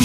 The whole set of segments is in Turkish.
Bir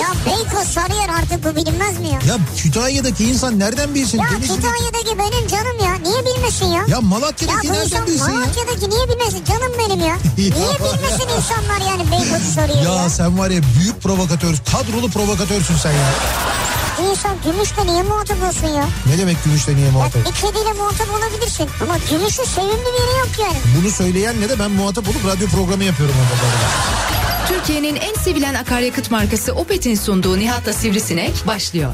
Ya Beykoz Sarıyer artık bu bilinmez mi ya? Ya Kütahya'daki insan nereden bilsin? Ya Denizli- Kütahya'daki benim canım ya. Niye bilmesin ya? Ya Ya Malatya'daki bu nereden insan bilsin ya? Malatya'daki niye bilmesin? Canım benim ya. Niye bilmesin insanlar yani Beykoz'u Sarıyer'i ya? Ya sen var ya büyük provokatör, kadrolu provokatörsün sen ya. Bir insan gümüşle niye muhatap olsun ya? Ne demek gümüşle niye Ya muhatap? bir kediyle muhatap olabilirsin. Ama gümüşün sevimli biri yok yani. Bunu söyleyen ne de ben muhatap olup radyo programı yapıyorum. orada. Türkiye'nin en sevilen akaryakıt markası Opet'in sunduğu Nihat'la Sivrisinek başlıyor.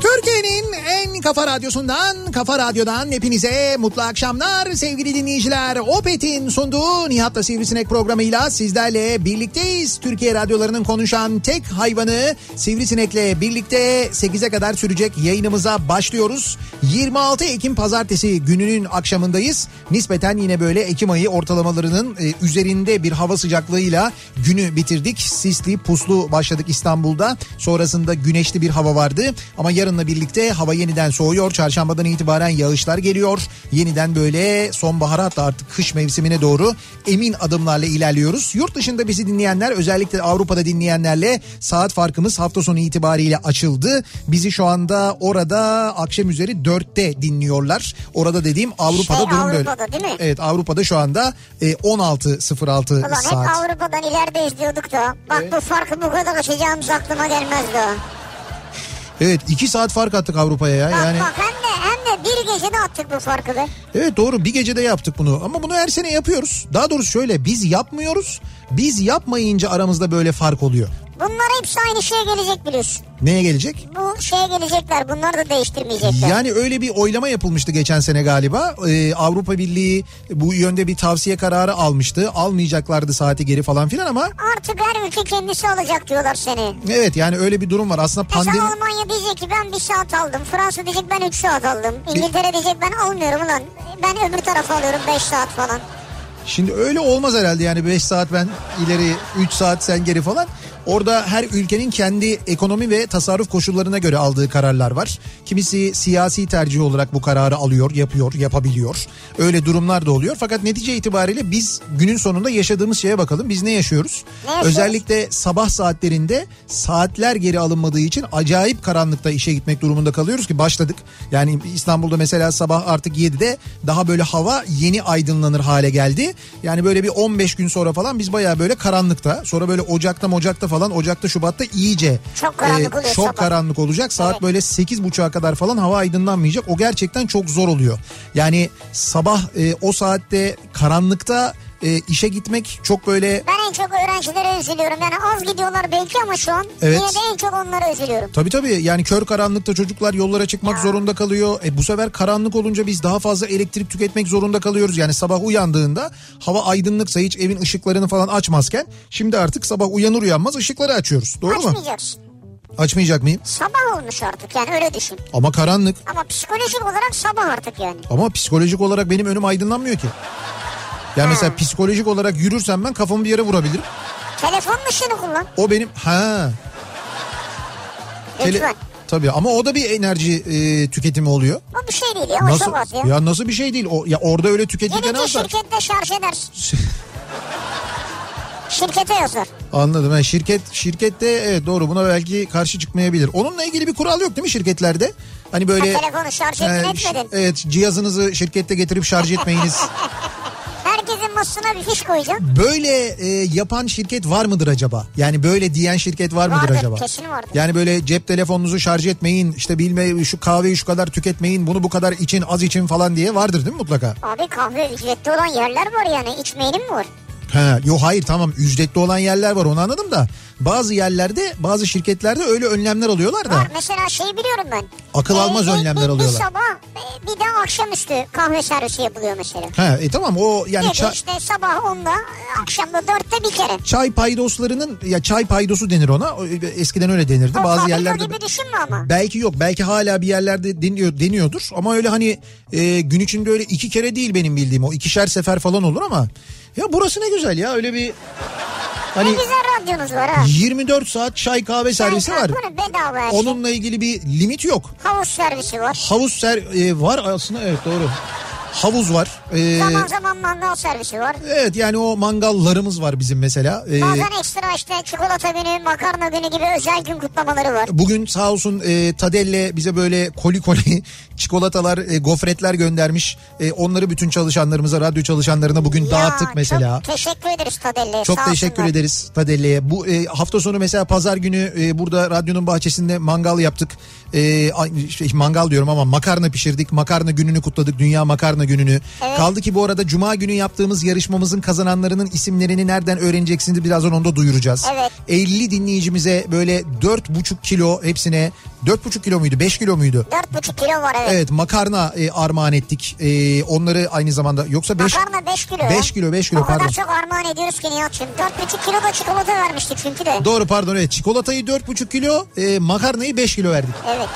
Türkiye'nin en kafa radyosundan, kafa radyodan hepinize mutlu akşamlar sevgili dinleyiciler. Opet'in sunduğu Nihat'la Sivrisinek programıyla sizlerle birlikteyiz. Türkiye radyolarının konuşan tek hayvanı Sivrisinek'le birlikte 8'e kadar sürecek yayınımıza başlıyoruz. 26 Ekim pazartesi gününün akşamındayız. Nispeten yine böyle Ekim ayı ortalamalarının e, üzerinde bir hava sıcaklığıyla günü bitirdik. Sisli puslu başladık İstanbul'da. Sonrasında güneşli bir hava vardı. Ama yarınla birlikte hava yeniden soğuyor. Çarşambadan itibaren yağışlar geliyor. Yeniden böyle sonbahara hatta artık kış mevsimine doğru emin adımlarla ilerliyoruz. Yurt dışında bizi dinleyenler özellikle Avrupa'da dinleyenlerle saat farkımız hafta sonu itibariyle açıldı. Bizi şu anda orada akşam üzeri 4'te dinliyorlar. Orada dediğim Avrupa'da Şey, durum böyle. Avrupa'da değil mi? Evet Avrupa'da şu anda e, 16.06 Ulan hep saat. E- Avrupa'dan ileride izliyorduk da. Bak bu farkı bu kadar açacağımız aklıma gelmezdi o. Evet 2 saat fark attık Avrupa'ya ya. Bak E Yani bak hem de, hem de bir gecede attık bu farkı be. evet doğru bir gecede yaptık bunu ama bunu her sene yapıyoruz. Daha doğrusu şöyle biz yapmıyoruz. Biz yapmayınca aramızda böyle fark oluyor. Bunlar hepsi aynı şeye gelecek biliyorsun. Neye gelecek? Bu şeye gelecekler bunları da değiştirmeyecekler. Yani öyle bir oylama yapılmıştı geçen sene galiba. Ee, Avrupa Birliği bu yönde bir tavsiye kararı almıştı. Almayacaklardı saati geri falan filan ama Artık her ülke kendisi alacak diyorlar seni. evet yani öyle bir durum var. Aslında Mesela pandemi Almanya diyecek ki ben bir saat aldım. Fransa diyecek ben 3 saat aldım. İngiltere diyecek ben almıyorum ulan. Ben öbür tarafa alıyorum 5 saat falan. Şimdi öyle olmaz herhalde yani 5 saat ben ileri 3 saat sen geri falan. Orada her ülkenin kendi ekonomi ve tasarruf koşullarına göre aldığı kararlar var. Kimisi siyasi tercih olarak bu kararı alıyor, yapıyor, yapabiliyor. Öyle durumlar da oluyor. Fakat netice itibariyle biz günün sonunda yaşadığımız şeye bakalım. Biz ne yaşıyoruz? Ne yaşıyoruz? Özellikle sabah saatlerinde saatler geri alınmadığı için acayip karanlıkta işe gitmek durumunda kalıyoruz ki başladık. Yani İstanbul'da mesela sabah artık 7'de daha böyle hava yeni aydınlanır hale geldi. Yani böyle bir 15 gün sonra falan biz bayağı böyle karanlıkta sonra böyle Ocak'ta Ocak'ta falan Ocak'ta Şubat'ta iyice e, Çok karanlık oluyor çok sabah. karanlık olacak. Saat böyle 8.30'a kadar falan hava aydınlanmayacak. O gerçekten çok zor oluyor. Yani sabah e, o saatte karanlıkta e, işe gitmek çok böyle Ben en çok öğrencilere üzülüyorum. Yani az gidiyorlar belki ama şu an Evet. yine de en çok onlara üzülüyorum. Tabii tabii yani kör karanlıkta çocuklar yollara çıkmak zorunda kalıyor. E bu sefer karanlık olunca biz daha fazla elektrik tüketmek zorunda kalıyoruz. Yani sabah uyandığında hava aydınlıksa hiç evin ışıklarını falan açmazken şimdi artık sabah uyanır uyanmaz ışıkları açıyoruz. Doğru mu? Açmayacaksın. Açmayacak mıyım? Sabah olmuş artık yani öyle düşün. Ama karanlık. Ama psikolojik olarak sabah artık yani. Ama psikolojik olarak benim önüm aydınlanmıyor ki. Yani mesela psikolojik olarak yürürsem ben kafamı bir yere vurabilirim. Telefonun ışığını kullan. O benim ha Lütfen. tabii ama o da bir enerji e, tüketimi oluyor. O bir şey değil ya. O nasıl sabah ya. ya nasıl bir şey değil o ya orada öyle tüketirken Gelince azlar. şirkette şarj edersin. Şirkete yazar. Anladım. Yani şirket şirkette evet doğru buna belki karşı çıkmayabilir. Onunla ilgili bir kural yok değil mi şirketlerde? Hani böyle Ha, telefonu şarj ettin, ş- etmedin. evet cihazınızı şirkette getirip şarj etmeyiniz. Herkesin masasına bir fiş koyacağım. böyle e, yapan şirket var mıdır acaba? Yani böyle diyen şirket var mıdır Vardır, acaba? kesin vardır. Yani böyle cep telefonunuzu şarj etmeyin, işte bilme şu kahveyi şu kadar tüketmeyin, bunu bu kadar için, az için falan diye vardır değil mi mutlaka? Abi kahve ücretli olan yerler var yani. İçmeyelim mi var? He, yo hayır tamam ücretli olan yerler var onu anladım da bazı yerlerde bazı şirketlerde öyle önlemler alıyorlar da. Var. Mesela şey biliyorum ben. Akıl almaz önlemler bir, alıyorlar. Bir sabah e, bir de akşamüstü kahve servisi yapılıyor mesela. He, e tamam o yani Yani ça- işte sabah 10'da akşamda 4'te bir kere. çay paydoslarının ya çay paydosu denir ona. O, e, Eskiden öyle denirdi. O Bazı fabrika yerlerde gibi düşünme ama. Belki yok. Belki hala bir yerlerde deniyor, deniyordur. Ama öyle hani e, gün içinde öyle iki kere değil benim bildiğim o. ikişer sefer falan olur ama. Ya burası ne güzel ya. Öyle bir Ne hani güzel radyonuz var ha. 24 saat çay kahve servisi Çay var. kahve bedava her şey. Onunla ilgili bir limit yok. Havuz servisi var. Havuz ser e, var aslında evet doğru. Havuz var. E, zaman zaman mangal servisi var. evet yani o mangallarımız var bizim mesela. E, Bazen ekstra işte çikolata günü, makarna günü gibi özel gün kutlamaları var. Bugün sağ olsun e, Tadelle bize böyle koli koli çikolatalar, e, gofretler göndermiş. E, onları bütün çalışanlarımıza, radyo çalışanlarına bugün dağıttık Ya, mesela. Çok teşekkür ederiz Tadelle'ye. Çok sağ teşekkür olsunlar. ederiz Tadelle'ye. Bu e, hafta sonu mesela pazar günü e, burada radyonun bahçesinde mangal yaptık. E, ay- şey, mangal diyorum ama makarna pişirdik. Makarna gününü kutladık. Dünya makarna gününü. Evet. Kaldı ki bu arada cuma günü yaptığımız yarışmamızın kazananlarının isimlerini nereden öğreneceksiniz birazdan onu da duyuracağız. Evet. 50 dinleyicimize böyle 4,5 kilo hepsine 4,5 kilo muydu 5 kilo muydu? 4,5 kilo var evet. Evet makarna e, armağan ettik. E, onları aynı zamanda yoksa 5 Makarna 5 kilo. ya. 5 kilo 5 kilo o kadar pardon. çok armağan ediyoruz ki Nihat'cığım. 4,5 kilo da çikolata vermiştik çünkü de. Doğru pardon evet çikolatayı 4,5 kilo e, makarnayı 5 kilo verdik. evet.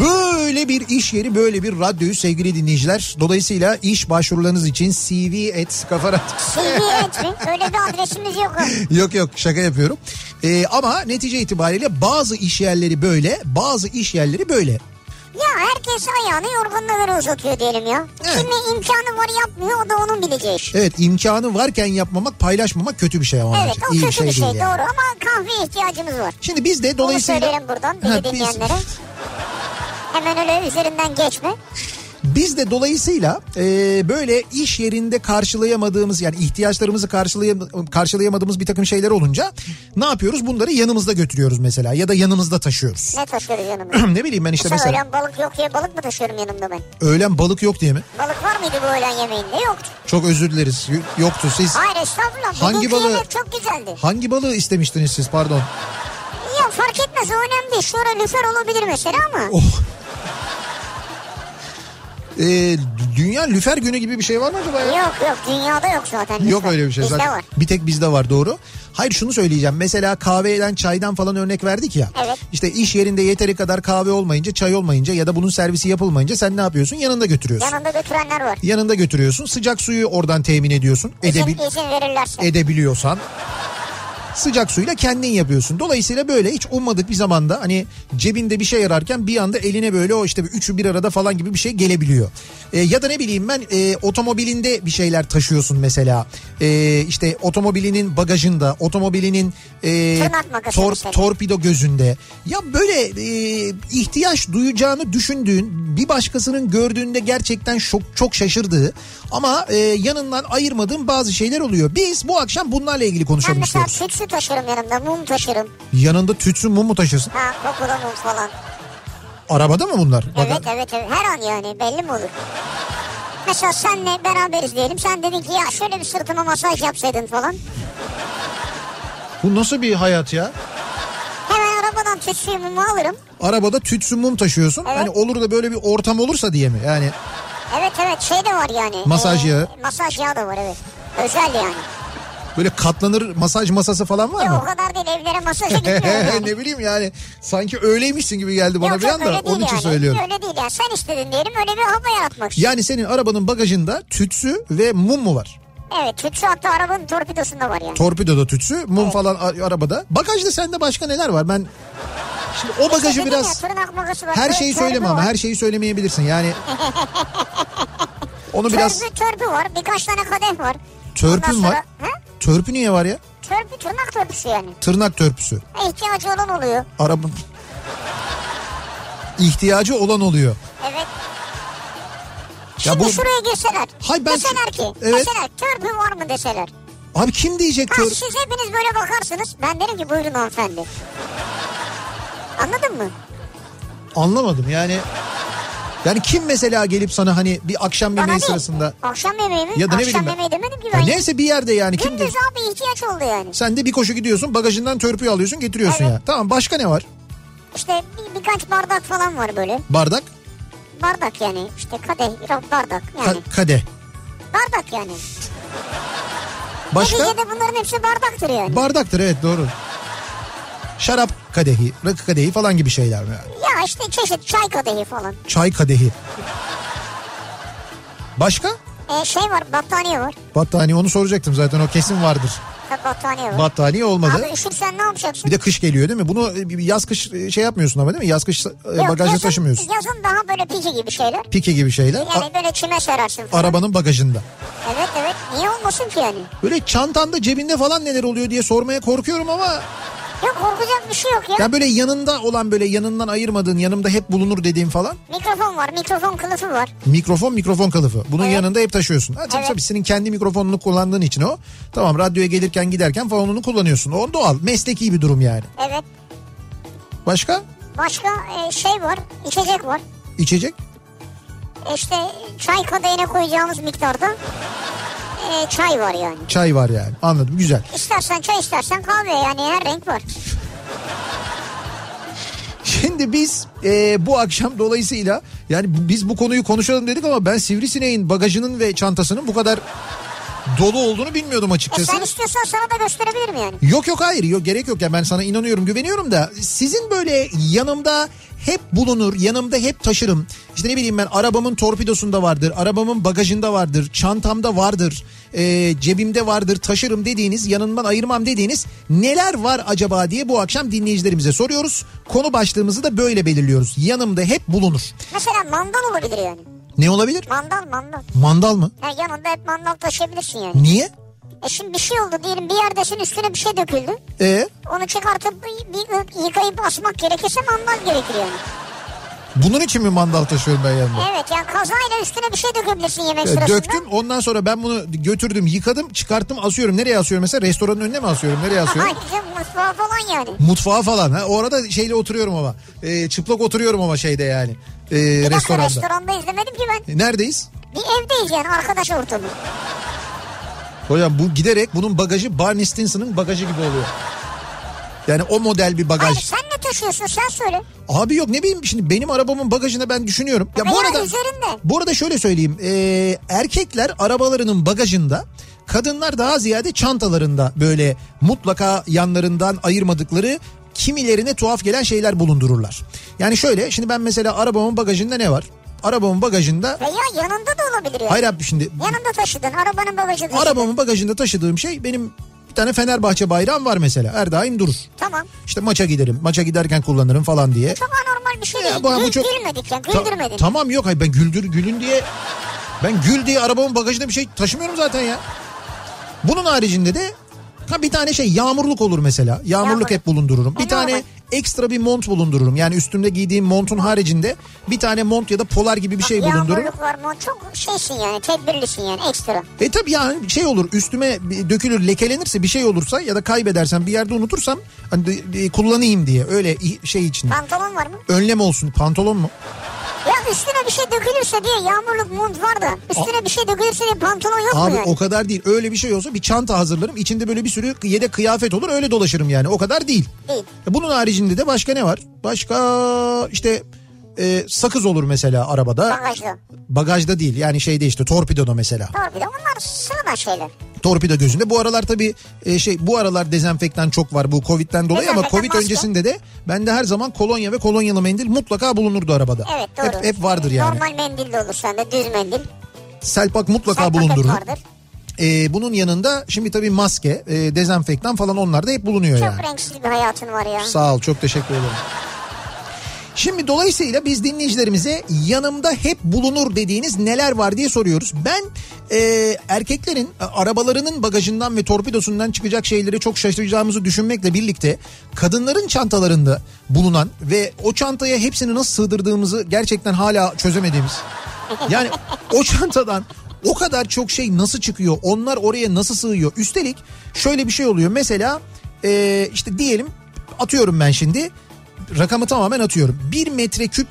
Böyle bir iş yeri böyle bir radyoyu sevgili dinleyiciler. Dolayısıyla iş başvurularınız için cv at kafa radyo- CV etrin. Öyle bir adresimiz yok. yok yok şaka yapıyorum. E, ama netice itibariyle bazı iş yerleri böyle bazı iş yerleri böyle. Ya herkes ayağını yorganına göre uzatıyor diyelim ya. Evet. Kimi imkanı var yapmıyor o da onun bileceği iş. Evet imkanı varken yapmamak paylaşmamak kötü bir şey ama. Evet o iyi kötü bir şey değil doğru yani. ama kahveye ihtiyacımız var. Şimdi biz de dolayısıyla... Onu söyleyelim buradan bizi Ha, biz- dinleyenlere. Hemen öyle üzerinden geçme. Biz de dolayısıyla e, böyle iş yerinde karşılayamadığımız yani ihtiyaçlarımızı karşılayam- karşılayamadığımız bir takım şeyler olunca ne yapıyoruz? Bunları yanımızda götürüyoruz mesela ya da yanımızda taşıyoruz. Ne taşıyoruz yanımda? ne bileyim ben işte Sen mesela öğlen balık yok diye balık mı taşıyorum yanımda ben? öğlen balık yok diye mi? Balık var mıydı bu öğlen yemeğinde? Yoktu. Çok özür dileriz Y- yoktu siz. Hayır estağfurullah. Hangi Bugünkü balığı- yemek çok güzeldi. Hangi balığı istemiştiniz siz pardon? Ya fark etmez o önemli değil. Şura lüfer olabilir mesela ama. Oh. E, dü- dünya lüfer günü gibi bir şey var mı acaba ya? Yok yok dünyada yok zaten. Yok lüfer. öyle bir şey Bizde zaten. var. Bir tek bizde var doğru. Hayır şunu söyleyeceğim. Mesela kahveden çaydan falan örnek verdik ya. Evet. İşte iş yerinde yeteri kadar kahve olmayınca çay olmayınca ya da bunun servisi yapılmayınca sen ne yapıyorsun? Yanında götürüyorsun. Yanında götürenler var. Yanında götürüyorsun. Sıcak suyu oradan temin ediyorsun. Edebil İzin, izin verirlerse. e- edebiliyorsan. Sıcak suyla kendin yapıyorsun. Dolayısıyla böyle hiç ummadık bir zamanda hani cebinde bir şey ararken bir anda eline böyle o işte bir üçü bir arada falan gibi bir şey gelebiliyor. E, ya da ne bileyim ben e, otomobilinde bir şeyler taşıyorsun mesela. E, işte otomobilinin bagajında, otomobilinin e, Tırnak makası tor- mesela. torpido gözünde. Ya böyle e, ihtiyaç duyacağını düşündüğün, bir başkasının gördüğünde gerçekten çok çok şaşırdığı ama e, yanından ayırmadığın bazı şeyler oluyor. Biz bu akşam bunlarla ilgili Ben konuşalım mesela istiyoruz. sütsü taşırım yanımda. Mum taşırım. Yanında tütsün mum mu taşırsın? Ha kokulu mum falan. Arabada mı bunlar? Evet evet evet her an yani belli mi olur? Mesela senle beraberiz diyelim. Sen dedin ki ya şöyle bir sırtıma masaj yapsaydın falan. Bu nasıl bir hayat ya? Hemen arabadan tütsüyü mumu alırım. Arabada tütsün mum taşıyorsun. Evet. Hani olur da böyle bir ortam olursa diye mi? Yani Evet evet şey de var yani. Ee, Masaj yağı. Masaj yağı da var evet. Özel yani. böyle katlanır masaj masası falan var Ya o mı? kadar değil evlere masaja gitmiyorum yani. ne bileyim yani sanki öyleymişsin gibi geldi bana Yok, bir yok, anda onun için yani. söylüyorum. Öyle değil yani. Sen istedin diyelim öyle bir hava yaratmak için. Yani senin arabanın bagajında tütsü ve mum mu var? Evet tütsü hatta arabanın torpidosunda var yani. Torpidoda tütsü, mum falan a- arabada. Bagajda sende başka neler var? Ben şimdi o İşte bagajı dedim ya, biraz tırnak makası var. her tör- şeyi törpü söyleme ama var. her şeyi söylemeyebilirsin. Yani onu biraz Törpü, törpü var birkaç tane kadeh var. Ondan törpün sonra- var. Ha? Törpü niye var ya? Törpü tırnak törpüsü yani. Tırnak törpüsü. E, ihtiyacı olan oluyor. Araba ihtiyacı olan oluyor. Evet. Ya Şimdi bu şuraya girseler. Hay ben- Deseler ki. Evet. Deseler törpü var mı deseler. abi kim diyecek Ha, diyor. siz hepiniz böyle bakarsınız. Ben derim ki buyurun hanımefendi. Anladın mı? Anlamadım yani. Yani kim mesela gelip sana hani bir akşam Bana yemeği değil. sırasında Akşam yemeği mi? ya da ne Akşam bileyim ben. yemeği demedim ki Ya ben. neyse bir yerde yani kim Gündüz abi ihtiyaç oldu yani. Sen de bir koşu gidiyorsun bagajından törpüyü alıyorsun getiriyorsun Evet. ya. Tamam başka ne var? İşte bir, birkaç bardak falan var böyle. Bardak, Bardak yani. işte kadeh, yok bardak ka- yani. kadeh. bardak yani. Başka? Neticede bunların hepsi bardaktır yani. Bardaktır evet doğru. Şarap kadehi, rakı kadehi falan gibi şeyler mi? yani? ya işte çeşit çay kadehi falan. Çay kadehi. Başka? E şey var battaniye var. Battaniye onu soracaktım zaten o kesin vardır. Tabii battaniye var. Battaniye olmadı. Abi üşürsen ne yapacaksın? Bir de kış geliyor değil mi? Bunu e, yaz kış e, şey yapmıyorsun ama değil mi? Yaz kış e, Yok, bagajda yazın- taşımıyorsun. Yazın daha böyle pike gibi şeyler. Pike gibi şeyler. Yani A- böyle çime sararsın falan. arabanın bagajında. Evet evet niye olmasın ki yani? Böyle çantanda cebinde falan neler oluyor diye sormaya korkuyorum ama Yok korkacak bir şey yok ya. ya böyle yanında olan böyle yanından ayırmadığın yanımda hep bulunur dediğin falan Mikrofon var mikrofon kılıfı var. mikrofon mikrofon kılıfı. Bunun Evet. yanında hep taşıyorsun. Ha, tabii, Evet. tabii senin kendi mikrofonunu kullandığın için o. Tamam radyoya gelirken giderken falan onu kullanıyorsun. O doğal mesleki bir durum yani. Evet Başka? başka e, şey var içecek var. İçecek? E İşte çay kadehine koyacağımız miktarda e, çay var yani. Çay var yani anladım güzel. İstersen çay istersen kahve yani her renk var. E, Şimdi biz e, bu akşam dolayısıyla yani bu- biz bu konuyu konuşalım dedik ama ben sivrisineğin bagajının ve çantasının bu kadar dolu olduğunu bilmiyordum E açıkçası. sen istiyorsan sana da gösterebilirim yani. Yok yok hayır yok gerek yok ya ben sana inanıyorum güveniyorum da sizin böyle yanımda hep bulunur yanımda hep taşırım işte ne bileyim ben arabamın torpidosunda vardır arabamın bagajında vardır çantamda vardır e, cebimde vardır taşırım dediğiniz yanından ayırmam dediğiniz neler var acaba diye bu akşam dinleyicilerimize soruyoruz konu başlığımızı da böyle belirliyoruz yanımda hep bulunur Mesela mandal olabilir yani. ne olabilir Mandal mandal. mandal mı Ha, yanında hep mandal taşıyabilirsin yani. niye E şimdi bir şey oldu diyelim bir yerdesin üstüne bir şey döküldü. e Onu çıkartıp bir, bir yıkayıp asmak gerekirse mandal gerekir yani. bunun için mi mandal taşıyorum ben yanımda Evet yani kazayla üstüne bir şey dökebilirsin yemek E, sırasında. Döktüm ondan sonra ben bunu götürdüm yıkadım çıkarttım asıyorum. Nereye asıyorum mesela restoranın önüne mi asıyorum nereye asıyorum? Ayrıca mutfağa falan E, yani. Mutfağa falan. Ha. Orada şeyle oturuyorum ama E, çıplak oturuyorum ama şeyde yani e, Bir dakika restoranda. restoranda izlemedim ki ben. E, Neredeyiz? Bir evdeyiz yani arkadaş ortamı. Hocam bu giderek bunun bagajı Barney Stinson'ın bagajı gibi oluyor. Yani o model bir Hayır bagaj. sen ne taşıyorsun sen söyle. Abi yok ne bileyim şimdi benim arabamın bagajına ben düşünüyorum. Ya bu Veya arada üzerinde. bu arada şöyle söyleyeyim. Ee, erkekler arabalarının bagajında kadınlar daha ziyade çantalarında böyle mutlaka yanlarından ayırmadıkları kimilerine tuhaf gelen şeyler bulundururlar. Yani şöyle şimdi ben mesela arabamın bagajında ne var? Arabamın bagajında Veya yanında da olabilir yani. hayır abi şimdi Yanında taşıdın arabanın bagajı taşıdın. arabamın bagajında taşıdığım şey benim bir tane Fenerbahçe bayrağım var mesela. Her daim durur. Tamam. İşte maça giderim. Maça giderken kullanırım falan diye. Çok anormal bir şey Ya değil. bu- bu Gül, çok- Gülmedik ya Ta- güldürmedin. tamam yok hayır ben güldür gülün diye ben gül diye arabamın bagajında bir şey taşımıyorum zaten ya. Bunun haricinde de ha bir tane şey yağmurluk olur mesela. Yağmurluk Yağmurluk. hep bulundururum. E, Bir ne tane olur? ekstra bir mont bulundururum. Yani üstümde giydiğim montun haricinde bir tane mont ya da polar gibi bir şey bulundururum. Yağmurluk var mı? Çok şeysin yani tedbirlisin yani ekstra. E tabi yani şey olur üstüme bir dökülür lekelenirse bir şey olursa ya da kaybedersem bir yerde unutursam hani de- de- kullanayım diye öyle i- şey için. Pantolon var mı? Önlem olsun pantolon mu? Ya üstüne bir şey dökülürse diye yağmurluk mont var da üstüne bir şey dökülürse diye pantolon yok Abi mu yani? o kadar değil. Öyle bir şey olsa bir çanta hazırlarım. İçinde böyle bir sürü yedek kıyafet olur. Öyle dolaşırım yani. O kadar değil. E, Değil. Bunun haricinde de başka ne var? Başka işte e, sakız olur mesela arabada. Bagajda. Bagajda değil. Yani şeyde işte torpidoda mesela. Doğru bir de onlar sıradan şeyler. Torpido gözünde. Bu aralar tabii e, şey bu aralar dezenfektan çok var bu Covid'den dolayı ama Dezenfektan, Covid maske. öncesinde de bende her zaman kolonya ve kolonyalı mendil mutlaka bulunurdu arabada. Evet doğru. Hep, hep vardır yani. Normal mendil de olur sende düz mendil. Selpak mutlaka Sen paket bulundurur. vardır. E, bunun yanında şimdi tabii maske, e, dezenfektan falan onlar da hep bulunuyor Çok yani. renksiz bir hayatın var ya. Sağ ol çok teşekkür ederim. Şimdi dolayısıyla biz dinleyicilerimize yanımda hep bulunur dediğiniz neler var diye soruyoruz. Ben e, erkeklerin e, arabalarının bagajından ve torpidosundan çıkacak şeyleri çok şaşıracağımızı düşünmekle birlikte kadınların çantalarında bulunan ve o çantaya hepsini nasıl sığdırdığımızı gerçekten hala çözemediğimiz. Yani o çantadan o kadar çok şey nasıl çıkıyor? Onlar oraya nasıl sığıyor? Üstelik şöyle bir şey oluyor. Mesela e, işte diyelim atıyorum ben şimdi rakamı tamamen atıyorum. Bir metreküp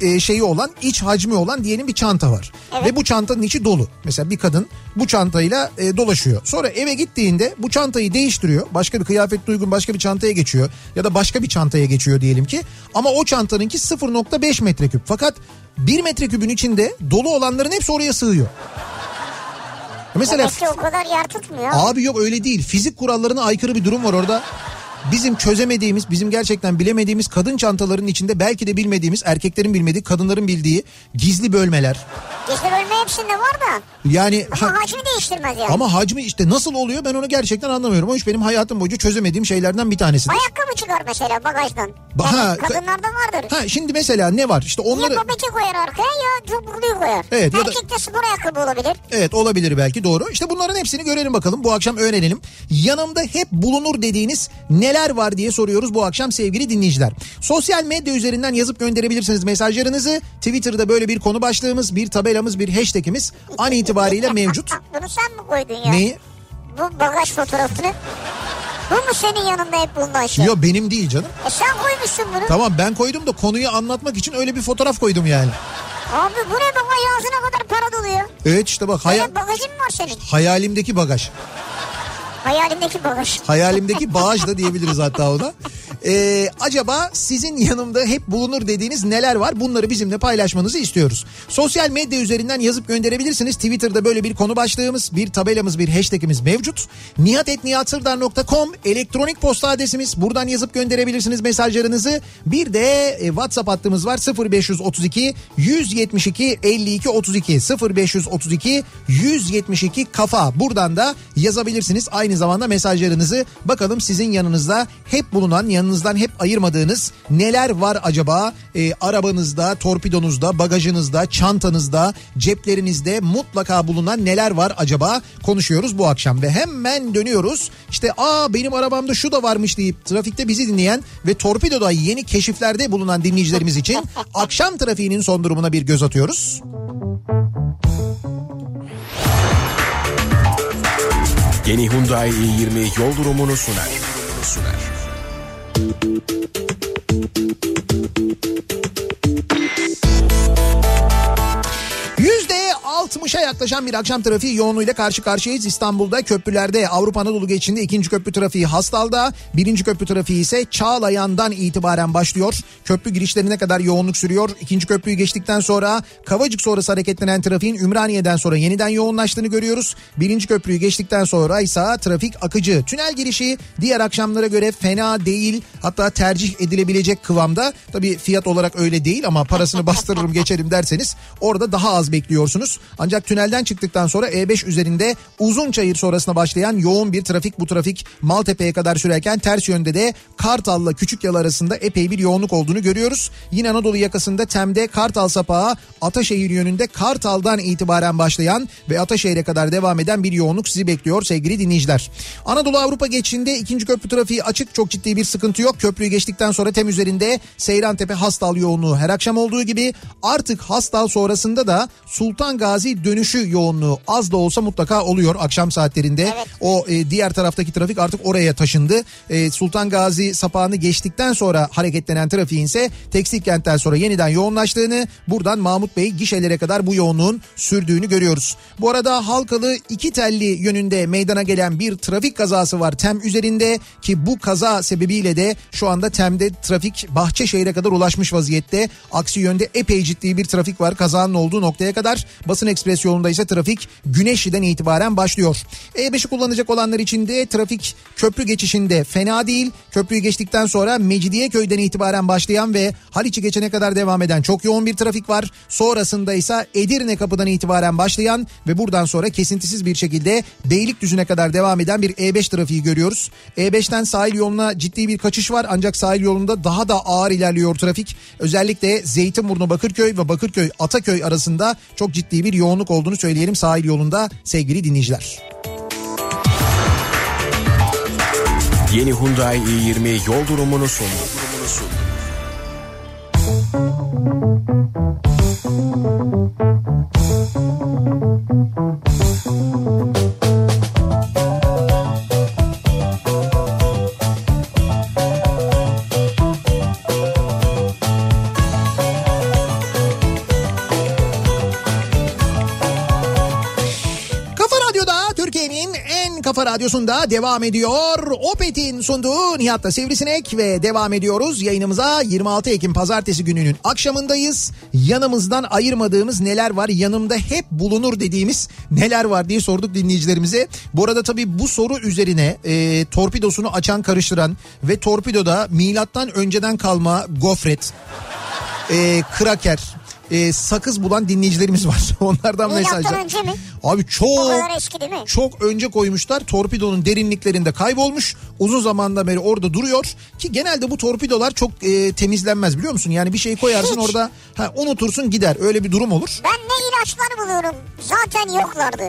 e, şeyi olan iç hacmi olan diyelim bir çanta var. Ve bu çantanın içi dolu. Mesela bir kadın bu çantayla e, dolaşıyor. Sonra eve gittiğinde bu çantayı değiştiriyor. Başka bir kıyafet uygun başka bir çantaya geçiyor. Ya da başka bir çantaya geçiyor diyelim ki. Ama o çantanınki 0.5 metreküp. Fakat 1 metreküpün içinde dolu olanların hepsi oraya sığıyor. Mesela Demek ki o kadar yer tutmuyor. Abi yok öyle değil. Fizik kurallarına aykırı bir durum var orada. Bizim çözemediğimiz, bizim gerçekten bilemediğimiz kadın çantalarının içinde belki de bilmediğimiz, erkeklerin bilmediği, kadınların bildiği gizli bölmeler. Gizli bölme hepsinde var da. Yani ha- Ama hacmi değiştirmez yani. ama hacmi işte nasıl oluyor ben onu gerçekten anlamıyorum. O iş benim hayatım boyunca çözemediğim şeylerden bir tanesi. Ayakkabı çıkar mesela bagajdan. Ba- Yani ha, kadınlarda vardır. Ha şimdi mesela ne var? İşte onları Ya babacı koyar arkaya ya topukluyu koyar. Evet, ya da- Erkekte spor ayakkabı olabilir. Evet olabilir belki doğru. İşte bunların hepsini görelim bakalım bu akşam öğrenelim. Yanımda hep bulunur dediğiniz neler var diye soruyoruz bu akşam sevgili dinleyiciler. Sosyal medya üzerinden yazıp gönderebilirsiniz mesajlarınızı. Twitter'da böyle bir konu başlığımız, bir tabelamız, bir hashtagimiz an itibariyle mevcut. Bunu sen mi koydun ya? Neyi? Bu bagaj fotoğrafını. Bu mu senin yanında hep bulunan şey? Yok benim değil canım. E sen koymuşsun bunu. Tamam ben koydum da konuyu anlatmak için öyle bir fotoğraf koydum yani. Abi bu ne bagaj ağzına kadar para doluyor. Evet işte bak Böyle haya- bagajın mı var senin? hayalimdeki bagaj. Hayalindeki bagaj. Hayalimdeki bağış da diyebiliriz hatta ona. Ee, acaba sizin yanımda hep bulunur dediğiniz neler var? Bunları bizimle paylaşmanızı istiyoruz. Sosyal medya üzerinden yazıp gönderebilirsiniz. Twitter'da böyle bir konu başlığımız, bir tabelamız, bir hashtagimiz mevcut. Nihatetnihatsırdar.com elektronik posta adresimiz. Buradan yazıp gönderebilirsiniz mesajlarınızı. Bir de e, WhatsApp hattımız var 0532 172 52 32 0532 172 kafa. Buradan da yazabilirsiniz. Aynı zamanda mesajlarınızı bakalım sizin yanınızda hep bulunan, yanınızdan hep ayırmadığınız neler var acaba? E, arabanızda, torpidonuzda, bagajınızda, çantanızda, ceplerinizde mutlaka bulunan neler var acaba? Konuşuyoruz bu akşam ve hemen dönüyoruz. İşte aa benim arabamda şu da varmış deyip trafikte bizi dinleyen ve torpidoda yeni keşiflerde bulunan dinleyicilerimiz için akşam trafiğinin son durumuna bir göz atıyoruz. Yeni Hyundai i20 yol durumunu sunar. %60'a yaklaşan bir akşam trafiği yoğunluğuyla karşı karşıyayız. İstanbul'da köprülerde Avrupa Anadolu geçişinde ikinci köprü trafiği Hastal'da, birinci köprü trafiği ise Çağlayan'dan itibaren başlıyor. Köprü girişlerine kadar yoğunluk sürüyor. İkinci köprüyü geçtikten sonra Kavacık sonrası hareketlenen trafiğin Ümraniye'den sonra yeniden yoğunlaştığını görüyoruz. Birinci köprüyü geçtikten sonra ise trafik akıcı. Tünel girişi diğer akşamlara göre fena değil hatta tercih edilebilecek kıvamda. Tabii fiyat olarak öyle değil ama parasını bastırırım geçerim derseniz orada daha az bekliyorsunuz. Ancak tünelden çıktıktan sonra E5 üzerinde uzun çayır sonrasına başlayan yoğun bir trafik bu trafik Maltepe'ye kadar sürerken ters yönde de Kartal'la Küçükyalı arasında epey bir yoğunluk olduğunu görüyoruz. Yine Anadolu yakasında Tem'de Kartal Sapağı Ataşehir yönünde Kartal'dan itibaren başlayan ve Ataşehir'e kadar devam eden bir yoğunluk sizi bekliyor sevgili dinleyiciler. Anadolu Avrupa geçişinde ikinci köprü trafiği açık çok ciddi bir sıkıntı yok. Köprüyü geçtikten sonra Tem üzerinde Seyrantepe Hastal yoğunluğu her akşam olduğu gibi artık Hastal sonrasında da Sultan Gazi dönüşü yoğunluğu az da olsa mutlaka oluyor akşam saatlerinde. O e, diğer taraftaki trafik artık oraya taşındı. E, Sultan Gazi sapağını geçtikten sonra hareketlenen trafiğin ise tekstil kentten sonra yeniden yoğunlaştığını buradan Mahmut Bey gişelere kadar bu yoğunluğun sürdüğünü görüyoruz. Bu arada Halkalı iki telli yönünde meydana gelen bir trafik kazası var Tem üzerinde ki bu kaza sebebiyle de şu anda Tem'de trafik Bahçeşehir'e kadar ulaşmış vaziyette. Aksi yönde epey ciddi bir trafik var kazanın olduğu noktaya kadar. Basın Basın Ekspres yolunda ise trafik Güneşli'den itibaren başlıyor. E5'i kullanacak olanlar için de trafik köprü geçişinde fena değil. Köprüyü geçtikten sonra Mecidiyeköy'den itibaren başlayan ve Haliç'i geçene kadar devam eden çok yoğun bir trafik var. Sonrasında ise Edirne kapıdan itibaren başlayan ve buradan sonra kesintisiz bir şekilde Beylikdüzü'ne kadar devam eden bir E5 trafiği görüyoruz. E5'ten sahil yoluna ciddi bir kaçış var ancak sahil yolunda daha da ağır ilerliyor trafik. Özellikle Zeytinburnu Bakırköy ve Bakırköy Ataköy arasında çok ciddi bir yoğunluk olduğunu söyleyelim sahil yolunda sevgili dinleyiciler. Yeni Hyundai i20 yol durumunu sundu. Kafa Radyo'da Türkiye'nin en kafa radyosunda devam ediyor. Opet'in sunduğu Nihat'la Sivrisinek ve devam ediyoruz. Yayınımıza 26 Ekim pazartesi gününün akşamındayız. Yanımızdan ayırmadığımız neler var? Yanımda hep bulunur dediğimiz neler var diye sorduk dinleyicilerimize. Bu arada tabii bu soru üzerine e, torpidosunu açan karıştıran ve torpidoda milattan önceden kalma gofret, e, kraker, e, sakız bulan dinleyicilerimiz var. Onlardan Milattan mesajlar. önce mi? Abi çok O kadar eski değil mi? çok önce koymuşlar. Torpidonun derinliklerinde kaybolmuş. Uzun zamandan beri orada duruyor. Ki genelde bu torpidolar çok e, temizlenmez biliyor musun? Yani bir şey koyarsın Hiç. orada ha, unutursun gider. Öyle bir durum olur. Ben ne ilaçlar buluyorum. Zaten yoklardı.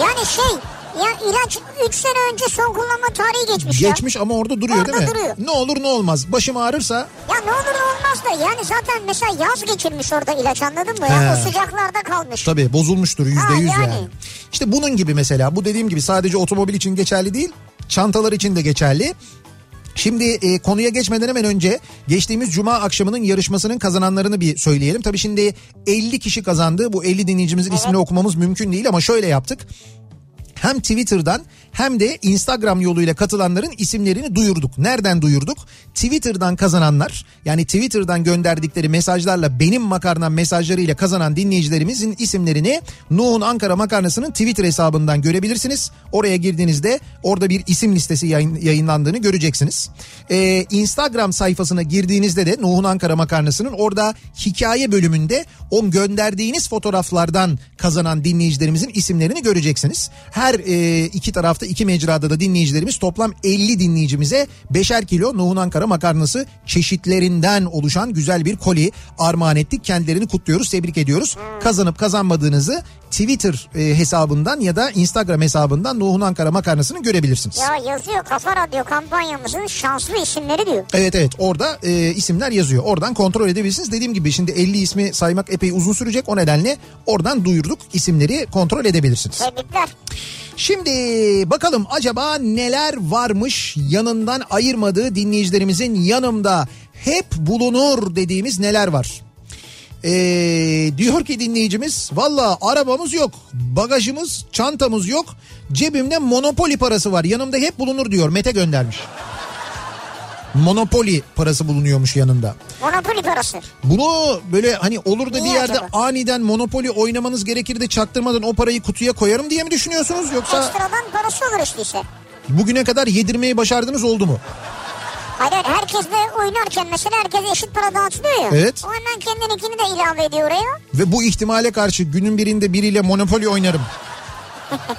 Yani şey ya ilaç 3 sene önce son kullanma tarihi geçmiş, Geçmiş ama orada duruyor Orada değil mi? duruyor. Ne olur ne olmaz. Başım ağrırsa ya. Ya ne olur ne olmaz da yani zaten mesela yaz geçirmiş orada ilaç anladın mı? Ya? He. O sıcaklarda kalmış. Tabii bozulmuştur yüzde Ha, yüz yani. yani. İşte bunun gibi mesela bu dediğim gibi sadece otomobil için geçerli değil çantalar için de geçerli. Şimdi e, konuya geçmeden hemen önce geçtiğimiz cuma akşamının yarışmasının kazananlarını bir söyleyelim. Tabii şimdi 50 kişi kazandı. Bu 50 dinleyicimizin ismini okumamız mümkün değil ama şöyle yaptık hem Twitter'dan hem de Instagram yoluyla katılanların isimlerini duyurduk. Nereden duyurduk? Twitter'dan kazananlar yani Twitter'dan gönderdikleri mesajlarla benim makarnam mesajlarıyla kazanan dinleyicilerimizin isimlerini Nuh'un Ankara Makarnası'nın Twitter hesabından görebilirsiniz. Oraya girdiğinizde orada bir isim listesi yayın, yayınlandığını göreceksiniz. Ee, Instagram sayfasına girdiğinizde de Nuh'un Ankara Makarnası'nın orada hikaye bölümünde o gönderdiğiniz fotoğraflardan kazanan dinleyicilerimizin isimlerini göreceksiniz. Her e, iki tarafta iki mecrada da dinleyicilerimiz toplam 50 dinleyicimize 5'er kilo Nuhun Ankara makarnası çeşitlerinden oluşan güzel bir koli armağan ettik. Kendilerini kutluyoruz, tebrik ediyoruz. Kazanıp kazanmadığınızı Twitter e, hesabından ya da Instagram hesabından Nuhun Ankara makarnasını görebilirsiniz. Ya yazıyor Kafa Radyo kampanyamızın şanslı isimleri diyor. Evet evet orada e, isimler yazıyor. Oradan kontrol edebilirsiniz. Dediğim gibi şimdi 50 ismi saymak epey uzun sürecek. O nedenle oradan duyurduk isimleri kontrol edebilirsiniz. Tebrikler. Şimdi bakalım acaba neler varmış yanından ayırmadığı dinleyicilerimizin yanımda hep bulunur dediğimiz neler var? Ee, diyor ki dinleyicimiz valla arabamız yok bagajımız çantamız yok cebimde monopoli parası var yanımda hep bulunur diyor Mete göndermiş. Monopoli parası bulunuyormuş yanında. Monopoly parası. Bunu böyle hani olur da bir Niye yerde acaba? aniden monopoli oynamanız gerekir de çaktırmadan o parayı kutuya koyarım diye mi düşünüyorsunuz yoksa? Ekstradan parası olur işte ise. Bugüne kadar yedirmeyi başardınız oldu mu? Hayır hayır, herkes de oynarken mesela herkes eşit para dağıtılıyor ya. Evet. O hemen kendininkini de ilave ediyor oraya. Ve bu ihtimale karşı günün birinde biriyle monopoli oynarım.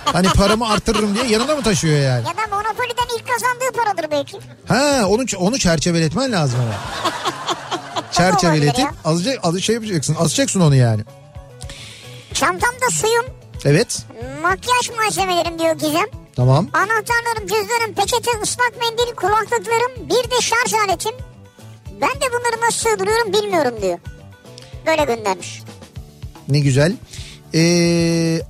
Hani paramı artırırım diye yanında mı taşıyor yani? Ya da Monopoly'den ilk kazandığı paradır belki. Ha onu onu çerçeveletmen lazım ama. Çerçeveletip Olabilir azıcık azı şey yapacaksın. Asacaksın onu yani. Çantamda suyum, Evet. makyaj malzemelerim diyor Gizem. Tamam. Anahtarlarım, cüzdanım, peçete, ıslak mendil, kulaklıklarım, bir de şarj aletim. Ben de bunları nasıl sığdırıyorum bilmiyorum diyor. Böyle göndermiş. Ne güzel. Ee,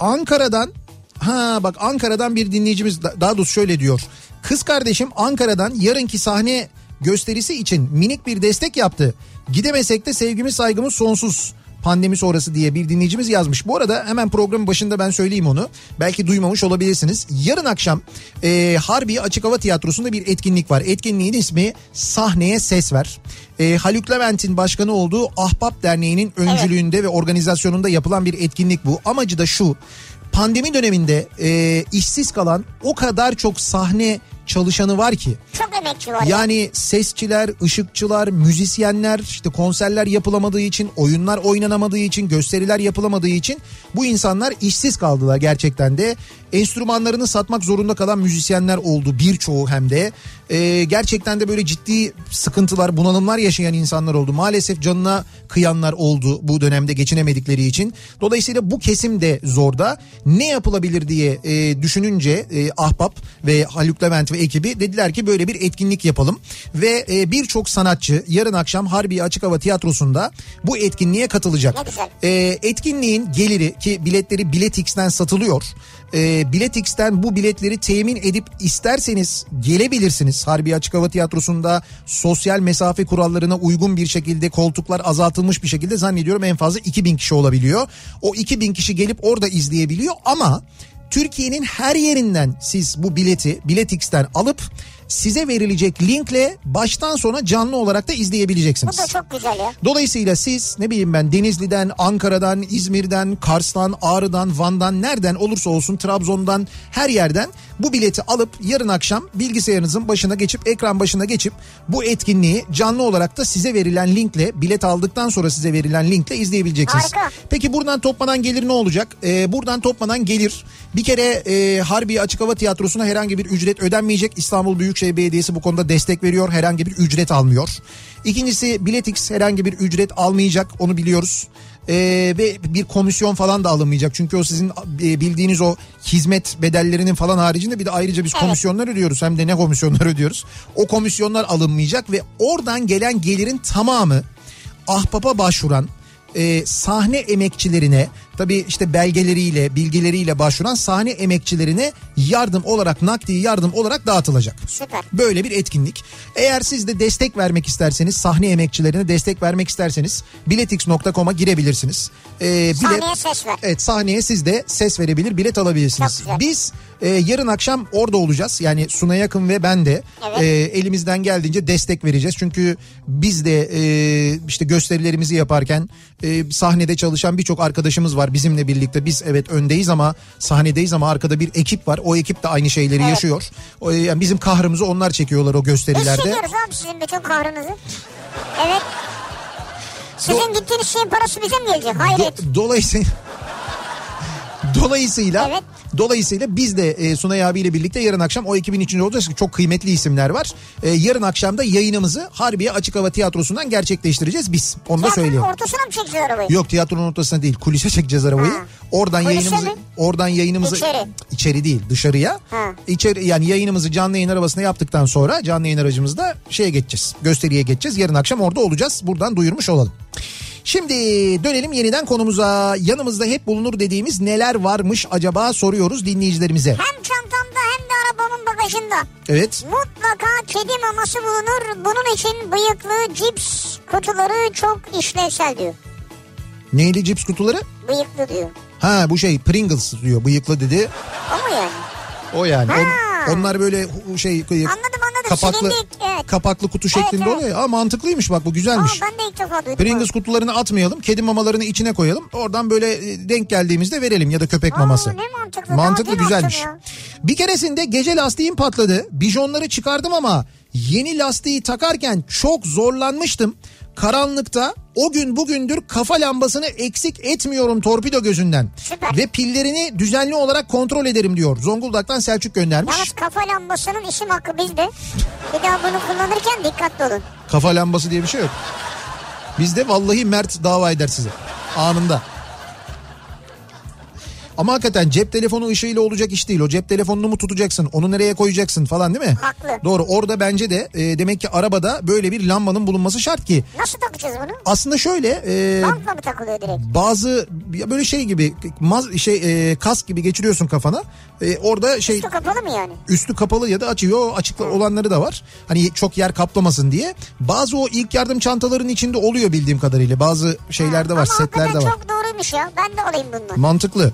Ankara'dan ha bak Ankara'dan bir dinleyicimiz da- daha doğrusu şöyle diyor. Kız kardeşim Ankara'dan yarınki sahne gösterisi için minik bir destek yaptı. Gidemesek de sevgimiz saygımız sonsuz. pandemi sonrası diye bir dinleyicimiz yazmış. Bu arada hemen programın başında ben söyleyeyim onu. Belki duymamış olabilirsiniz. Yarın akşam e, Harbi Açık Hava Tiyatrosu'nda bir etkinlik var. Etkinliğin ismi Sahneye Ses Ver. E, Haluk Levent'in başkanı olduğu Ahbap Derneği'nin öncülüğünde ve organizasyonunda yapılan bir etkinlik bu. Amacı da şu pandemi döneminde e, işsiz kalan o kadar çok sahne çalışanı var ki. Çok emekçi var. Ya. Yani sesçiler, ışıkçılar, müzisyenler işte konserler yapılamadığı için, oyunlar oynanamadığı için, gösteriler yapılamadığı için bu insanlar işsiz kaldılar gerçekten de. Enstrümanlarını satmak zorunda kalan müzisyenler oldu birçoğu hem de. Ee, gerçekten de böyle ciddi sıkıntılar, bunalımlar yaşayan insanlar oldu. Maalesef canına kıyanlar oldu bu dönemde geçinemedikleri için. Dolayısıyla bu kesim de zorda. Ne yapılabilir diye e, düşününce e, Ahbap ve Haluk Levent ve ekibi dediler ki böyle bir etkinlik yapalım. Ve e, birçok sanatçı yarın akşam Harbiye Açık Hava Tiyatrosu'nda bu etkinliğe katılacak. Ne güzel. E, etkinliğin geliri ki biletleri Biletix'ten satılıyor. E, Biletix'ten bu biletleri temin edip isterseniz gelebilirsiniz. Harbi Açık Hava Tiyatrosu'nda sosyal mesafe kurallarına uygun bir şekilde koltuklar azaltılmış bir şekilde zannediyorum en fazla 2000 kişi olabiliyor. O 2000 kişi gelip orada izleyebiliyor ama Türkiye'nin her yerinden siz bu bileti Biletix'ten alıp size verilecek linkle baştan sona canlı olarak da Bu izleyebileceksiniz. da çok güzel ya. Dolayısıyla siz ne bileyim ben Denizli'den, Ankara'dan, İzmir'den, Kars'tan, Ağrı'dan, Van'dan nereden olursa olsun Trabzon'dan her yerden bu bileti alıp yarın akşam bilgisayarınızın başına geçip ekran başına geçip bu etkinliği canlı olarak da size verilen linkle bilet aldıktan sonra size verilen linkle izleyebileceksiniz. Harika. Peki buradan toplanan gelir ne olacak? Ee, buradan toplanan gelir bir kere e, Harbiye Açık Hava Tiyatrosu'na herhangi bir ücret ödenmeyecek. İstanbul Büyükşehir Belediyesi bu konuda destek veriyor. Herhangi bir ücret almıyor. İkincisi Biletix herhangi bir ücret almayacak onu biliyoruz. Ee, ve bir komisyon falan da alınmayacak. Çünkü o sizin e, bildiğiniz o hizmet bedellerinin falan haricinde bir de ayrıca biz komisyonlar ödüyoruz. Hem de ne komisyonlar ödüyoruz. O komisyonlar alınmayacak ve oradan gelen gelirin tamamı ahbaba başvuran e, sahne emekçilerine tabi işte belgeleriyle bilgileriyle başvuran sahne emekçilerine yardım olarak nakdi yardım olarak dağıtılacak. Süper. Böyle bir etkinlik. Eğer siz de destek vermek isterseniz sahne emekçilerine destek vermek isterseniz biletix.com'a girebilirsiniz. E, bilet- Sahneye ses ver. Evet sahneye siz de ses verebilir bilet alabilirsiniz. Çok güzel. Biz e, yarın akşam orada olacağız. Yani Suna Yakın ve ben de Evet. e, elimizden geldiğince destek vereceğiz. Çünkü biz de e, işte gösterilerimizi yaparken e, sahnede çalışan birçok arkadaşımız var bizimle birlikte. Biz evet öndeyiz ama sahnedeyiz ama arkada bir ekip var. O ekip de aynı şeyleri Evet. yaşıyor. O, e, yani bizim kahrımızı onlar çekiyorlar o Biz gösterilerde. çekiyoruz abi sizin bütün kahrınızı. Evet. Sizin gittiğiniz şeyin parası bize mi gelecek? Hayret. Do- dolayısıyla Dolayısıyla Evet. dolayısıyla biz de e, Sunay abiyle birlikte yarın akşam o ekibin içinde olacağız. ki Çok kıymetli isimler var. E, yarın akşam da yayınımızı Harbiye Açık Hava Tiyatrosu'ndan gerçekleştireceğiz biz. Onu da Tiyatronun söyleyeyim. ortasına mı çekiyor arabayı? Yok tiyatronun ortasına değil kulise çekeceğiz arabayı. Ha. Oradan Kulise yayınımızı mi? oradan yayınımızı İçeri. içeri değil dışarıya. Ha. İçeri yani yayınımızı canlı yayın arabasına yaptıktan sonra canlı yayın aracımızda şeye geçeceğiz. Gösteriye geçeceğiz. Yarın akşam orada olacağız. Buradan duyurmuş olalım. Şimdi dönelim yeniden konumuza. Yanımızda hep bulunur dediğimiz neler varmış acaba soruyoruz dinleyicilerimize. Hem çantamda hem de arabamın bagajında. Evet. Mutlaka kedi maması bulunur. Bunun için bıyıklı cips kutuları çok işlevsel diyor. Neyli cips kutuları? Bıyıklı diyor. Ha bu şey Pringles diyor bıyıklı dedi. O mu yani? O yani. On- Ha. onlar böyle şey kıyık. Anladım anladım. kapaklı Silindik. Evet. kapaklı kutu şeklinde evet. oluyor. ya. Aa mantıklıymış bak bu Aa, güzelmiş. ben de ilk defa duydum. Pringles kutularını atmıyorum. Kedi mamalarını içine koyalım. Oradan böyle e, denk geldiğimizde verelim ya da köpek Aa, maması. ne mantıklı. Mantıklı Daha dün güzelmiş. attım Bir keresinde gece lastiğim patladı. Bijonları çıkardım ama yeni lastiği takarken çok zorlanmıştım. Karanlıkta o gün bugündür kafa lambasını eksik etmiyorum torpido gözünden. Süper. Ve pillerini düzenli olarak kontrol ederim diyor. Zonguldak'tan Selçuk göndermiş. Yalnız kafa lambasının işim hakkı bizde. Bir daha bunu kullanırken dikkatli olun. Kafa lambası diye bir şey yok. Bizde vallahi Mert dava eder size. Anında. Ama hakikaten cep telefonu ışığıyla olacak iş değil. O cep telefonunu mu tutacaksın? Onu nereye koyacaksın falan değil mi? Haklı. Doğru. Orada bence de e, demek ki arabada böyle bir lambanın bulunması şart ki. Nasıl takacağız bunu? Aslında şöyle e, Bantla mı takılıyor direkt? bazı ya böyle şey gibi maz, şey e, kask gibi geçiriyorsun kafana. E, orada şey Üstü kapalı mı yani? üstü kapalı ya da açıyor açık olanları da var. Hani çok yer kaplamasın diye. Bazı o ilk yardım çantalarının içinde oluyor bildiğim kadarıyla. Bazı şeylerde var, Ama setlerde hakikaten var. çok doğruymuş ya. Ben de olayım bundan. Mantıklı.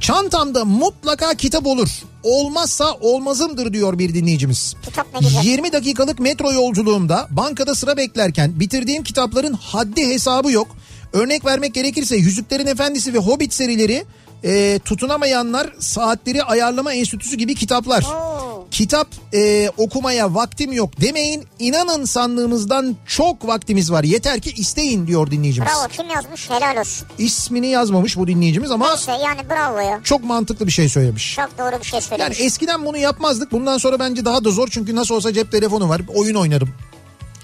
Çantamda mutlaka kitap olur. Olmazsa olmazımdır diyor bir dinleyicimiz. Kitap ne güzel. 20 dakikalık metro yolculuğumda bankada sıra beklerken bitirdiğim kitapların haddi hesabı yok. Örnek vermek gerekirse Yüzüklerin Efendisi ve Hobbit serileri e, tutunamayanlar saatleri ayarlama enstitüsü gibi kitaplar. Oo. Kitap e, okumaya vaktim yok demeyin. İnanın sandığımızdan çok vaktimiz var. Yeter ki isteyin diyor dinleyicimiz. Bravo kim yazmış helal olsun. İsmini yazmamış bu dinleyicimiz ama Neyse yani bravo ya. çok mantıklı bir şey söylemiş. Çok doğru bir şey Yani e- söylemiş. eskiden bunu yapmazdık. Bundan sonra bence daha da zor çünkü nasıl olsa cep telefonu var. Oyun oynarım.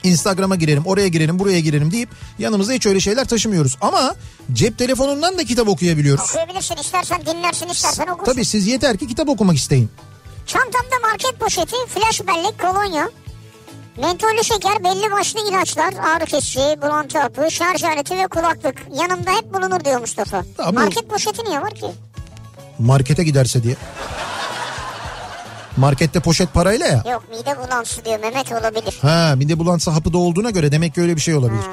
Instagram'a girelim, oraya girelim, buraya girelim deyip yanımızda hiç öyle şeyler taşımıyoruz. Ama cep telefonundan da kitap okuyabiliyoruz. Okuyabilirsin istersen dinlersin istersen okursun. Tabii siz yeter ki kitap okumak isteyin. Çantamda market poşeti, flash bellek, kolonya, mentollü şeker, belli başlı ilaçlar, ağrı kesici, bulantı hapı, şarj aleti ve kulaklık. Yanımda hep bulunur diyor Mustafa. Tamam. Market poşeti niye var ki? Markete giderse diye. Markette poşet parayla ya. Yok mide bulantısı diyor Mehmet olabilir. Ha bir de bulantısı hapı da olduğuna göre demek ki öyle bir şey olabilir.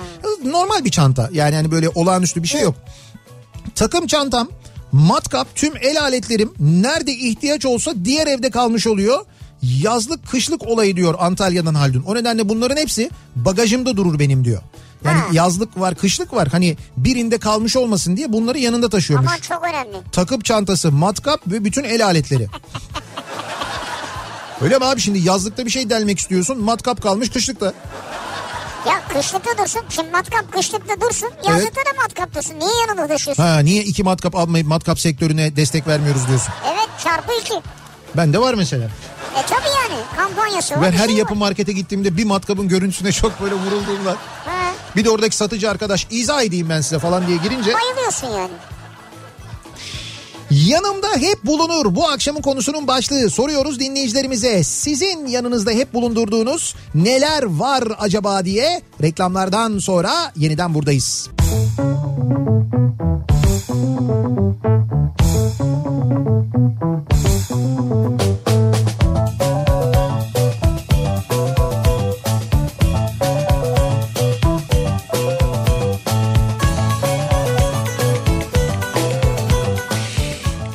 Normal bir çanta yani hani böyle olağanüstü bir şey yok. Takım çantam, matkap, tüm el aletlerim nerede ihtiyaç olsa diğer evde kalmış oluyor. Yazlık kışlık olayı diyor Antalya'dan Haldun. O nedenle bunların hepsi bagajımda durur benim diyor. Yani Ha. yazlık var kışlık var hani birinde kalmış olmasın diye bunları yanında taşıyormuş. Aman çok önemli. Takım çantası, matkap ve bütün el aletleri. Öyle mi abi şimdi yazlıkta bir şey delmek istiyorsun matkap kalmış kışlıkta. Ya kışlıkta dursun. Şimdi matkap kışlıkta dursun. Yazlıkta da matkap dursun. Niye yanında taşıyorsun? Ha niye iki matkap almayıp matkap sektörüne destek vermiyoruz diyorsun. Evet çarpı iki. Ben de var mesela. E tabii yani kampanyası var. Ben bir her şey yapı var. markete gittiğimde bir matkabın görüntüsüne çok böyle vurulduğumda. Ha, Bir de oradaki satıcı arkadaş izah edeyim ben size falan diye girince. bayılıyorsun yani. Yanımda hep bulunur. Bu akşamın konusunun başlığı. Soruyoruz dinleyicilerimize. Sizin yanınızda hep bulundurduğunuz neler var acaba diye reklamlardan sonra yeniden buradayız.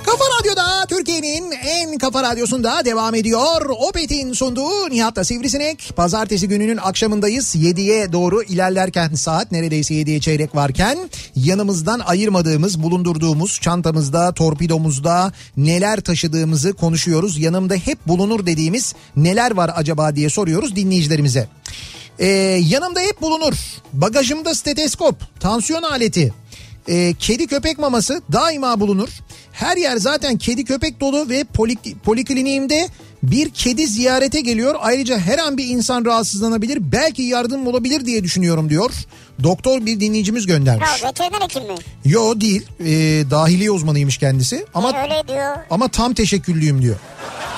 Kafa Radyo'da Türkiye'nin en kafa radyosunda devam ediyor. Opet'in sunduğu Nihat'la Sivrisinek. Pazartesi gününün akşamındayız. 7'ye doğru ilerlerken saat neredeyse 7'ye çeyrek varken yanımızdan ayırmadığımız, bulundurduğumuz çantamızda, torpidomuzda neler taşıdığımızı konuşuyoruz. Yanımda hep bulunur dediğimiz neler var acaba diye soruyoruz dinleyicilerimize. Ee, yanımda hep bulunur. Bagajımda steteskop, tansiyon aleti, e, kedi köpek maması daima bulunur. Her yer zaten kedi köpek dolu ve poli- polikliniğimde bir kedi ziyarete geliyor. Ayrıca her an bir insan rahatsızlanabilir. Belki yardım olabilir diye düşünüyorum diyor. Doktor bir dinleyicimiz göndermiş. Ya veteriner hekim mi? Yo değil. E, dahiliye uzmanıymış kendisi. Ama Öyle diyor. ama tam teşekküllüyüm diyor.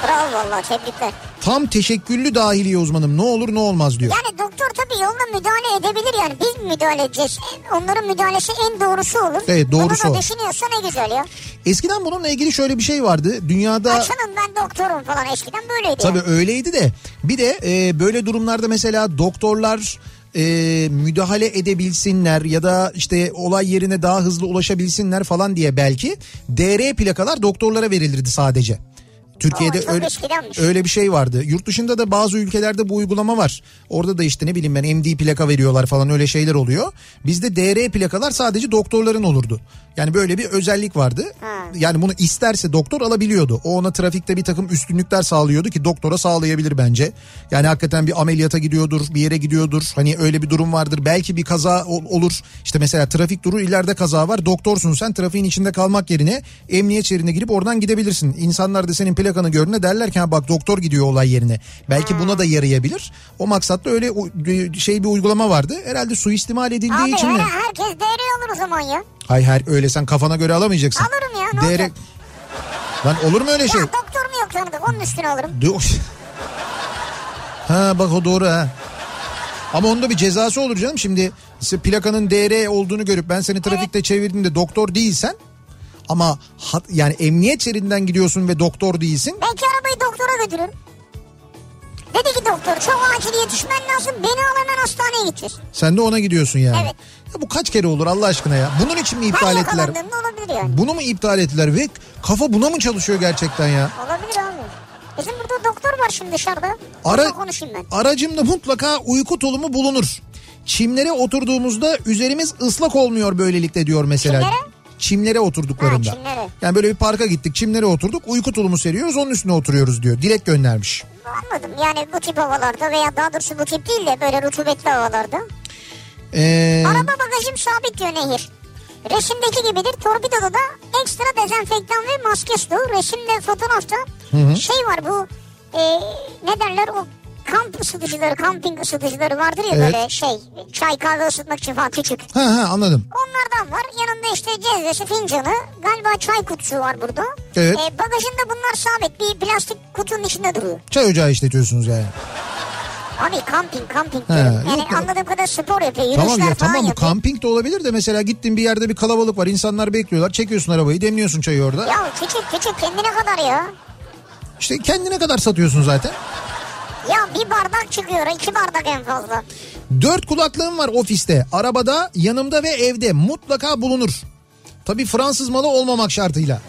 Bravo valla tebrikler. Tam teşekküllü dahiliye uzmanım. Ne olur ne olmaz diyor. Yani doktor tabii yoluna müdahale edebilir yani. Biz mi müdahale edeceğiz? Onların müdahalesi en doğrusu olur. Evet, doğrusu Bunu o. da düşünüyorsa ne güzel ya. Eskiden bununla ilgili şöyle bir şey vardı. Dünyada Açılın ben doktorum falan eskiden böyleydi. Tabii yani. öyleydi de bir de e, böyle durumlarda mesela doktorlar e, müdahale edebilsinler ya da işte olay yerine daha hızlı ulaşabilsinler falan diye belki DR plakalar doktorlara verilirdi sadece. Türkiye'de Aa, çok öyle, eskidenmiş. öyle bir şey vardı. Yurt dışında da bazı ülkelerde bu uygulama var. Orada da işte ne bileyim ben MD plaka veriyorlar falan öyle şeyler oluyor. Bizde DR plakalar sadece doktorların olurdu. Yani böyle bir özellik vardı. Yani bunu isterse doktor alabiliyordu. O ona trafikte bir takım üstünlükler sağlıyordu ki doktora sağlayabilir bence. Yani hakikaten bir ameliyata gidiyordur, bir yere gidiyordur. Hani öyle bir durum vardır. Belki bir kaza ol- olur. İşte mesela trafik duru ileride kaza var. Doktorsun sen trafiğin içinde kalmak yerine emniyet şeridine girip oradan gidebilirsin. İnsanlar da senin plakanı gördüğünde derler ki "Ha bak doktor gidiyor olay yerine. Belki buna da yarayabilir. O maksatla öyle u- şey bir uygulama vardı. Herhalde suistimal edildiği Abi için mi? her, herkes değeri alır o zaman ya. Hay hay öyle sen kafana göre alamayacaksın. Alırım ne Değerek... olacak? Lan olur mu öyle şey? Ya doktor mu yok tanıdık onun üstüne alırım. Diyor- ha bak o doğru ha. Ama onda bir cezası olur canım şimdi. işte plakanın DR olduğunu görüp ben seni trafikte çevirdim de doktor değilsen ama hat- yani emniyet şeridinden gidiyorsun ve doktor değilsin. Belki arabayı doktora götürür. Dedi ki doktor çok acil yetişmen lazım beni al hemen hastaneye getir. Sen de ona gidiyorsun yani. Evet. Ya bu kaç kere olur Allah aşkına ya? Bunun için mi Her iptal ettiler? yakalandığında olabilir yani. Bunu mu iptal ettiler ve kafa buna mı çalışıyor gerçekten ya? Olabilir abi. Bizim burada doktor var şimdi dışarıda. Ara, Onunla konuşayım ben. aracımda mutlaka uyku tulumu bulunur. Çimlere oturduğumuzda üzerimiz ıslak olmuyor böylelikle diyor mesela. Çimlere? Çimlere oturduklarında. Ha, çimlere. Yani böyle bir parka gittik çimlere oturduk uyku tulumu seriyoruz onun üstüne oturuyoruz diyor. Dilek göndermiş. Anladım yani bu tip havalarda veya daha doğrusu bu tip değil de böyle rutubetli havalarda. Ee, Araba bagajım sabit diyor Nehir. Resimdeki gibidir. Torpidoda da ekstra dezenfektan ve maske su. Resimde fotoğrafta şey var bu e, ne derler o kamp ısıtıcıları, kamping ısıtıcıları vardır ya Evet. böyle şey çay kahve ısıtmak için falan küçük. Ha ha anladım. Onlardan var. Yanında işte cezvesi, fincanı, galiba çay kutusu var burada. Evet. E, bagajında bunlar sabit bir plastik kutunun içinde duruyor. Çay ocağı işletiyorsunuz yani. Abi kamping kamping He, diyorum. yani yok ya. anladığım kadar spor yapıyor. Yürüyüşler Tamam ya falan tamam bu yapıyor. kamping de olabilir de mesela gittin bir yerde bir kalabalık var insanlar bekliyorlar çekiyorsun arabayı demliyorsun çayı orada. Ya küçük küçük kendine kadar ya. İşte kendine kadar satıyorsun zaten. Ya bir bardak çıkıyor iki bardak en fazla. Dört kulaklığım var ofiste, arabada, yanımda ve evde mutlaka bulunur. Tabii Fransız malı olmamak şartıyla.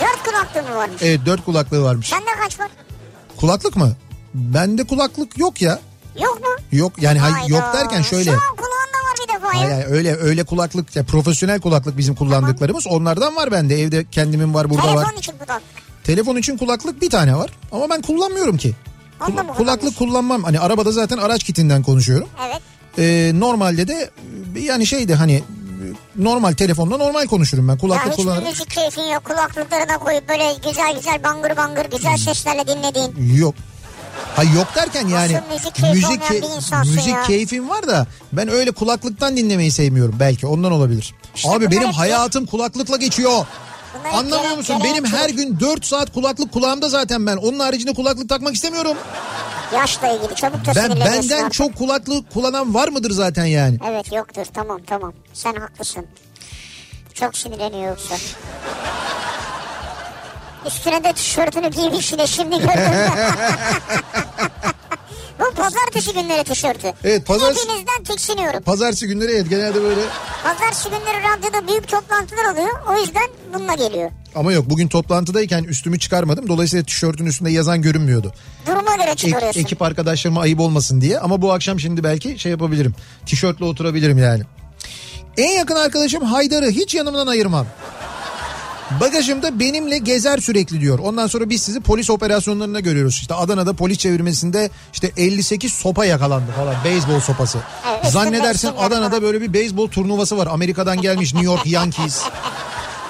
Dört kulaklığı mı varmış? Evet dört kulaklığı varmış. Sende kaç var? Kulaklık mı? Bende kulaklık yok ya. Yok mu? Yok yani hay- Hayda. yok derken şöyle. Şu an kulağında var bir defa Hayır, ya. hayır, öyle öyle kulaklık ya profesyonel kulaklık bizim kullandıklarımız onlardan var bende evde kendimin var burada var. Telefon için bu da. Telefon için kulaklık bir tane var ama ben kullanmıyorum ki. Onu da mı kulaklık kullanmam hani arabada zaten araç kitinden konuşuyorum. Evet. Ee, normalde de e, yani şeydi hani e, normal telefonla normal konuşurum ben Ya kulaklık hiçbir kullanırım. müzik keyfin yok. Kulaklıkları da koyup böyle güzel güzel bangır bangır güzel seslerle dinlediğin. Yok. Ha yok derken yani Nasıl müzik keyfi olmayan key- bir insansın müzik ya? keyfim var da ben öyle kulaklıktan dinlemeyi sevmiyorum belki ondan olabilir. Abi bunlar benim hep- hayatım kulaklıkla geçiyor. Bunlar hep Anlamıyor gerek- musun? gerek Benim yok. her gün 4 saat kulaklık kulağımda zaten ben. Onun haricinde kulaklık takmak istemiyorum. Yaşla ilgili çabuk da Ben sinirleniyorsun benden artık. çok kulaklık kullanan var mıdır zaten yani? Evet yoktur tamam tamam. Sen haklısın. Çok sinirleniyor yoksa. Üstüne de tişörtünü giymiş yine şimdi gördüm. Bu pazartesi günleri tişörtü. Evet, pazartesi- Hepinizden tiksiniyorum. Pazartesi günleri evet genelde böyle Pazartesi günleri radyoda büyük toplantılar oluyor. O yüzden bununla geliyor. ama yok bugün toplantıdayken üstümü çıkarmadım. Dolayısıyla tişörtün üstünde yazan görünmüyordu. Duruma göre Ek- çıkarıyorsun. ekip arkadaşlarıma ayıp olmasın diye ama bu akşam şimdi belki şey yapabilirim. Tişörtle oturabilirim yani. En yakın arkadaşım Haydar'ı hiç yanımdan ayırmam. Bagajımda benimle gezer sürekli diyor. Ondan sonra biz sizi polis operasyonlarında görüyoruz. İşte Adana'da polis çevirmesinde işte 58 sopa yakalandı falan. Beyzbol sopası. Evet, Zannedersin işte Adana'da böyle bir beyzbol turnuvası var. Amerika'dan gelmiş New York Yankees.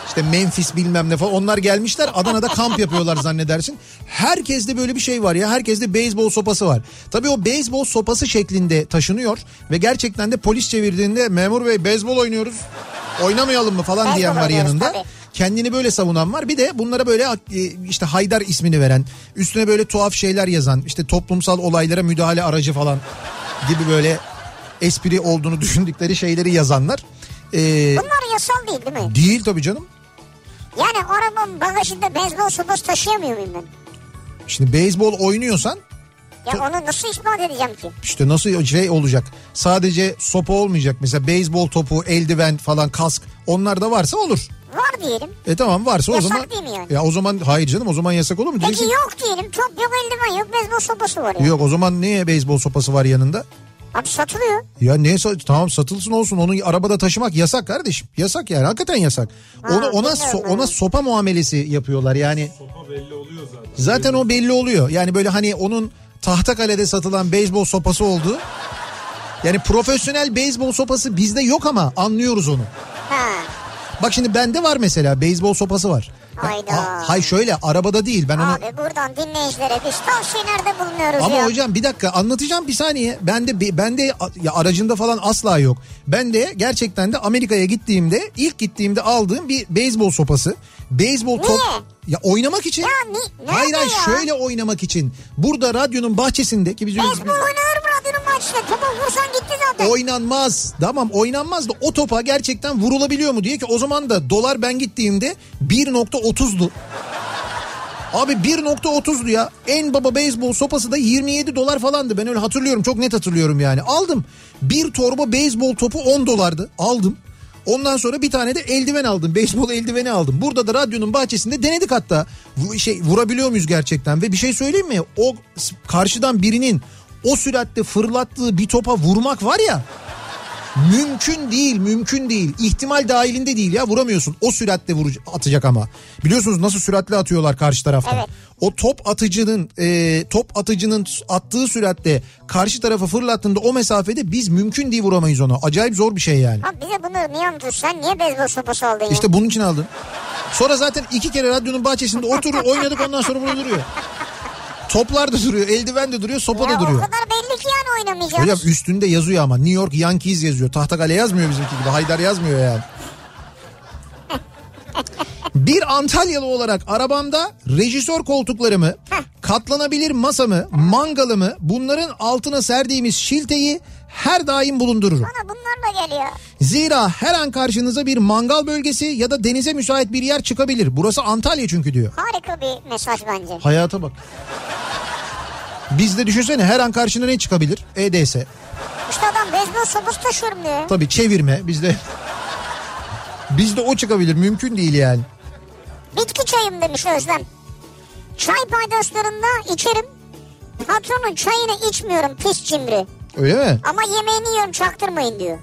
İşte Memphis bilmem ne falan onlar gelmişler Adana'da kamp yapıyorlar zannedersin. Herkeste böyle bir şey var ya herkeste beyzbol sopası var. Tabii o beyzbol sopası şeklinde taşınıyor ve gerçekten de polis çevirdiğinde memur bey beyzbol oynuyoruz oynamayalım mı falan Beyzbol diyen var oynuyoruz yanında. tabii. Kendini böyle savunan var bir de bunlara böyle e, işte Haydar ismini veren üstüne böyle tuhaf şeyler yazan işte toplumsal olaylara müdahale aracı falan gibi böyle espri olduğunu düşündükleri şeyleri yazanlar. Ee, Bunlar yasal değil değil mi? değil tabii canım. Yani arabanın bagajında beyzbol sopası taşıyamıyor muyum ben? Şimdi beyzbol oynuyorsan Ya onu nasıl ispat edeceğim ki? işte nasıl şey olacak? Sadece sopa olmayacak. Mesela beyzbol topu, eldiven falan, kask onlar da varsa olur. Var diyelim. E tamam varsa o Yasak zaman değil mi yani? ya o zaman hayır canım o zaman yasak olur mu? Peki Diyeceksin- yok diyelim. Top yok eldiven yok beyzbol sopası var ya. Yok o zaman niye beyzbol sopası var yanında? Abi satılıyor. Ya ne sa- tamam satılsın olsun onu arabada taşımak yasak kardeşim. Yasak yani hakikaten yasak. Onu ona bilmiyorum so- ben. ona sopa muamelesi yapıyorlar yani. Sopa belli oluyor zaten. Zaten o belli oluyor. Yani böyle hani onun Tahtakale'de satılan beyzbol sopası olduğu. Yani profesyonel beyzbol sopası bizde yok ama anlıyoruz onu. Ha. Bak şimdi bende var mesela beyzbol sopası var. Hayda. Hay şöyle arabada değil ben onu... Abi buradan dinleyicilere biz tavsiyelerde bulunuyoruz Ama ya. hocam bir dakika anlatacağım bir saniye. Ben de bi- ben de a- ya aracında falan asla yok. Ben de gerçekten de Amerika'ya gittiğimde ilk gittiğimde aldığım bir beyzbol sopası. Beyzbol top ya oynamak için. Ya ni- nerede hayır hayır ya? şöyle oynamak için. Burada radyonun bahçesinde ki biz Beyzbol oynanır mı radyonun maçta? Topa vursan gitti zaten. oynanmaz. Tamam oynanmaz da o topa gerçekten vurulabiliyor mu diye ki o zaman da dolar ben gittiğimde 1.30'du. Abi 1.30'du ya. En baba beyzbol sopası da 27 dolar falandı. Ben öyle hatırlıyorum. Çok net hatırlıyorum yani. Aldım. Bir torba beyzbol topu 10 dolardı. Aldım. Ondan sonra bir tane de eldiven aldım. Beyzbol eldiveni aldım. Burada da radyonun bahçesinde denedik hatta. Vu- Şey vurabiliyor muyuz gerçekten? Ve bir şey söyleyeyim mi? O s- karşıdan birinin o süratte fırlattığı bir topa vurmak var ya. Mümkün değil, mümkün değil. İhtimal dahilinde değil ya vuramıyorsun. O süratle vuruc- atacak ama. Biliyorsunuz nasıl süratle atıyorlar karşı taraftan. Evet. O top atıcının e, top atıcının attığı süratle karşı tarafa fırlattığında o mesafede biz mümkün değil vuramayız onu. Acayip zor bir şey yani. Abi bize bunu niye unutur? Sen niye beyzbol sopası aldın ya? İşte bunun için aldım. Sonra zaten iki kere radyonun bahçesinde oturur oynadık ondan sonra bunu duruyor. Toplar da duruyor, eldiven de duruyor, sopa Ya da duruyor. O kadar belli ki yani oynamayacağız. Hocam üstünde yazıyor ama New York Yankees yazıyor. Tahtakale yazmıyor bizimki gibi. Haydar yazmıyor yani. Bir Antalyalı olarak arabamda rejisör koltuklarımı, katlanabilir masamı, mangalımı, bunların altına serdiğimiz şilteyi her daim bulundururum. Bana bunlarla geliyor. Zira her an karşınıza bir mangal bölgesi ya da denize müsait bir yer çıkabilir. Burası Antalya çünkü diyor. Harika bir mesaj bence. Hayata bak. Bizde düşünsene her an karşına ne çıkabilir? E EDS. İşte adam beyzbol sopası taşıyorum diyor. Tabii çevirme bizde bizde o çıkabilir mümkün değil yani. Bitki çayım demiş Özlem. Çay paydaşlarında içerim. Patronun çayını içmiyorum pis cimri. Öyle mi? Ama yemeğini yiyorum çaktırmayın diyor.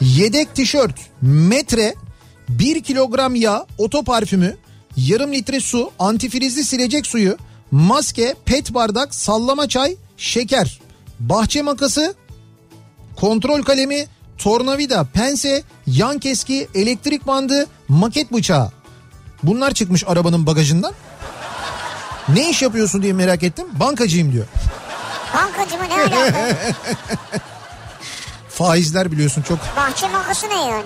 Yedek tişört, metre, 1 kilogram yağ, oto parfümü, yarım litre su, antifrizli silecek suyu, maske, pet bardak, sallama çay, şeker, bahçe makası, kontrol kalemi, tornavida, pense, yan keski, elektrik bandı, maket bıçağı. Bunlar çıkmış arabanın bagajından. Ne iş yapıyorsun diye merak ettim. Bankacıyım diyor. Bankacı mı ne alaka? Faizler biliyorsun çok Bahçe makası ne yani?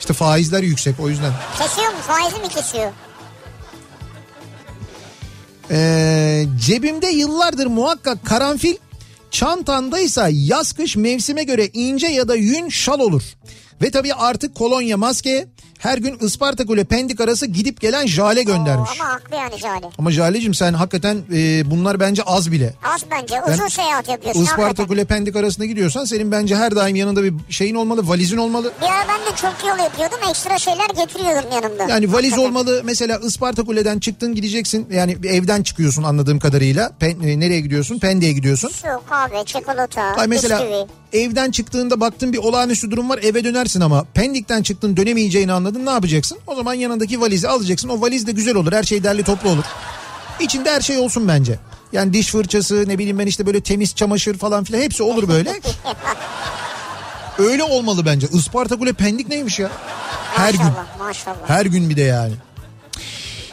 işte faizler yüksek o yüzden. Kesiyor mu faizi mi kesiyor? Ee, cebimde yıllardır muhakkak karanfil, çantandaysa yaz kış mevsime göre ince ya da yün şal olur. Ve tabii artık kolonya maske her gün Ispartakul ile Pendik arası gidip gelen jale göndermiş. Oo, ama haklı yani Cale. Ama Jale'cim sen hakikaten e, bunlar bence az bile. Az bence uzun seyahat yapıyorsun. Ispartakul hakikaten. ile Pendik arasında gidiyorsan senin bence her daim yanında bir şeyin olmalı, valizin olmalı. Bir ara ben de çok yol yapıyordum ekstra şeyler getiriyordum yanımda. Yani valiz Hakikaten. olmalı. Mesela Ispartakule'den çıktın gideceksin. Yani bir evden çıkıyorsun anladığım kadarıyla. Pen- e, nereye gidiyorsun? Pendik'e gidiyorsun. Su, kahve, çikolata, Ay mesela bisküvi. evden çıktığında baktın bir olağanüstü durum var eve dönersin ama Pendik'ten çıktın dönemeyeceğini anladın ne yapacaksın? O zaman yanındaki valizi alacaksın o valiz de güzel olur her şey derli toplu olur. İçinde her şey olsun bence. Yani diş fırçası ne bileyim ben işte böyle temiz çamaşır falan filan hepsi olur böyle. Öyle olmalı bence. Ispartakule Pendik neymiş ya? Her gün. maşallah, Maşallah. Her gün bir de yani.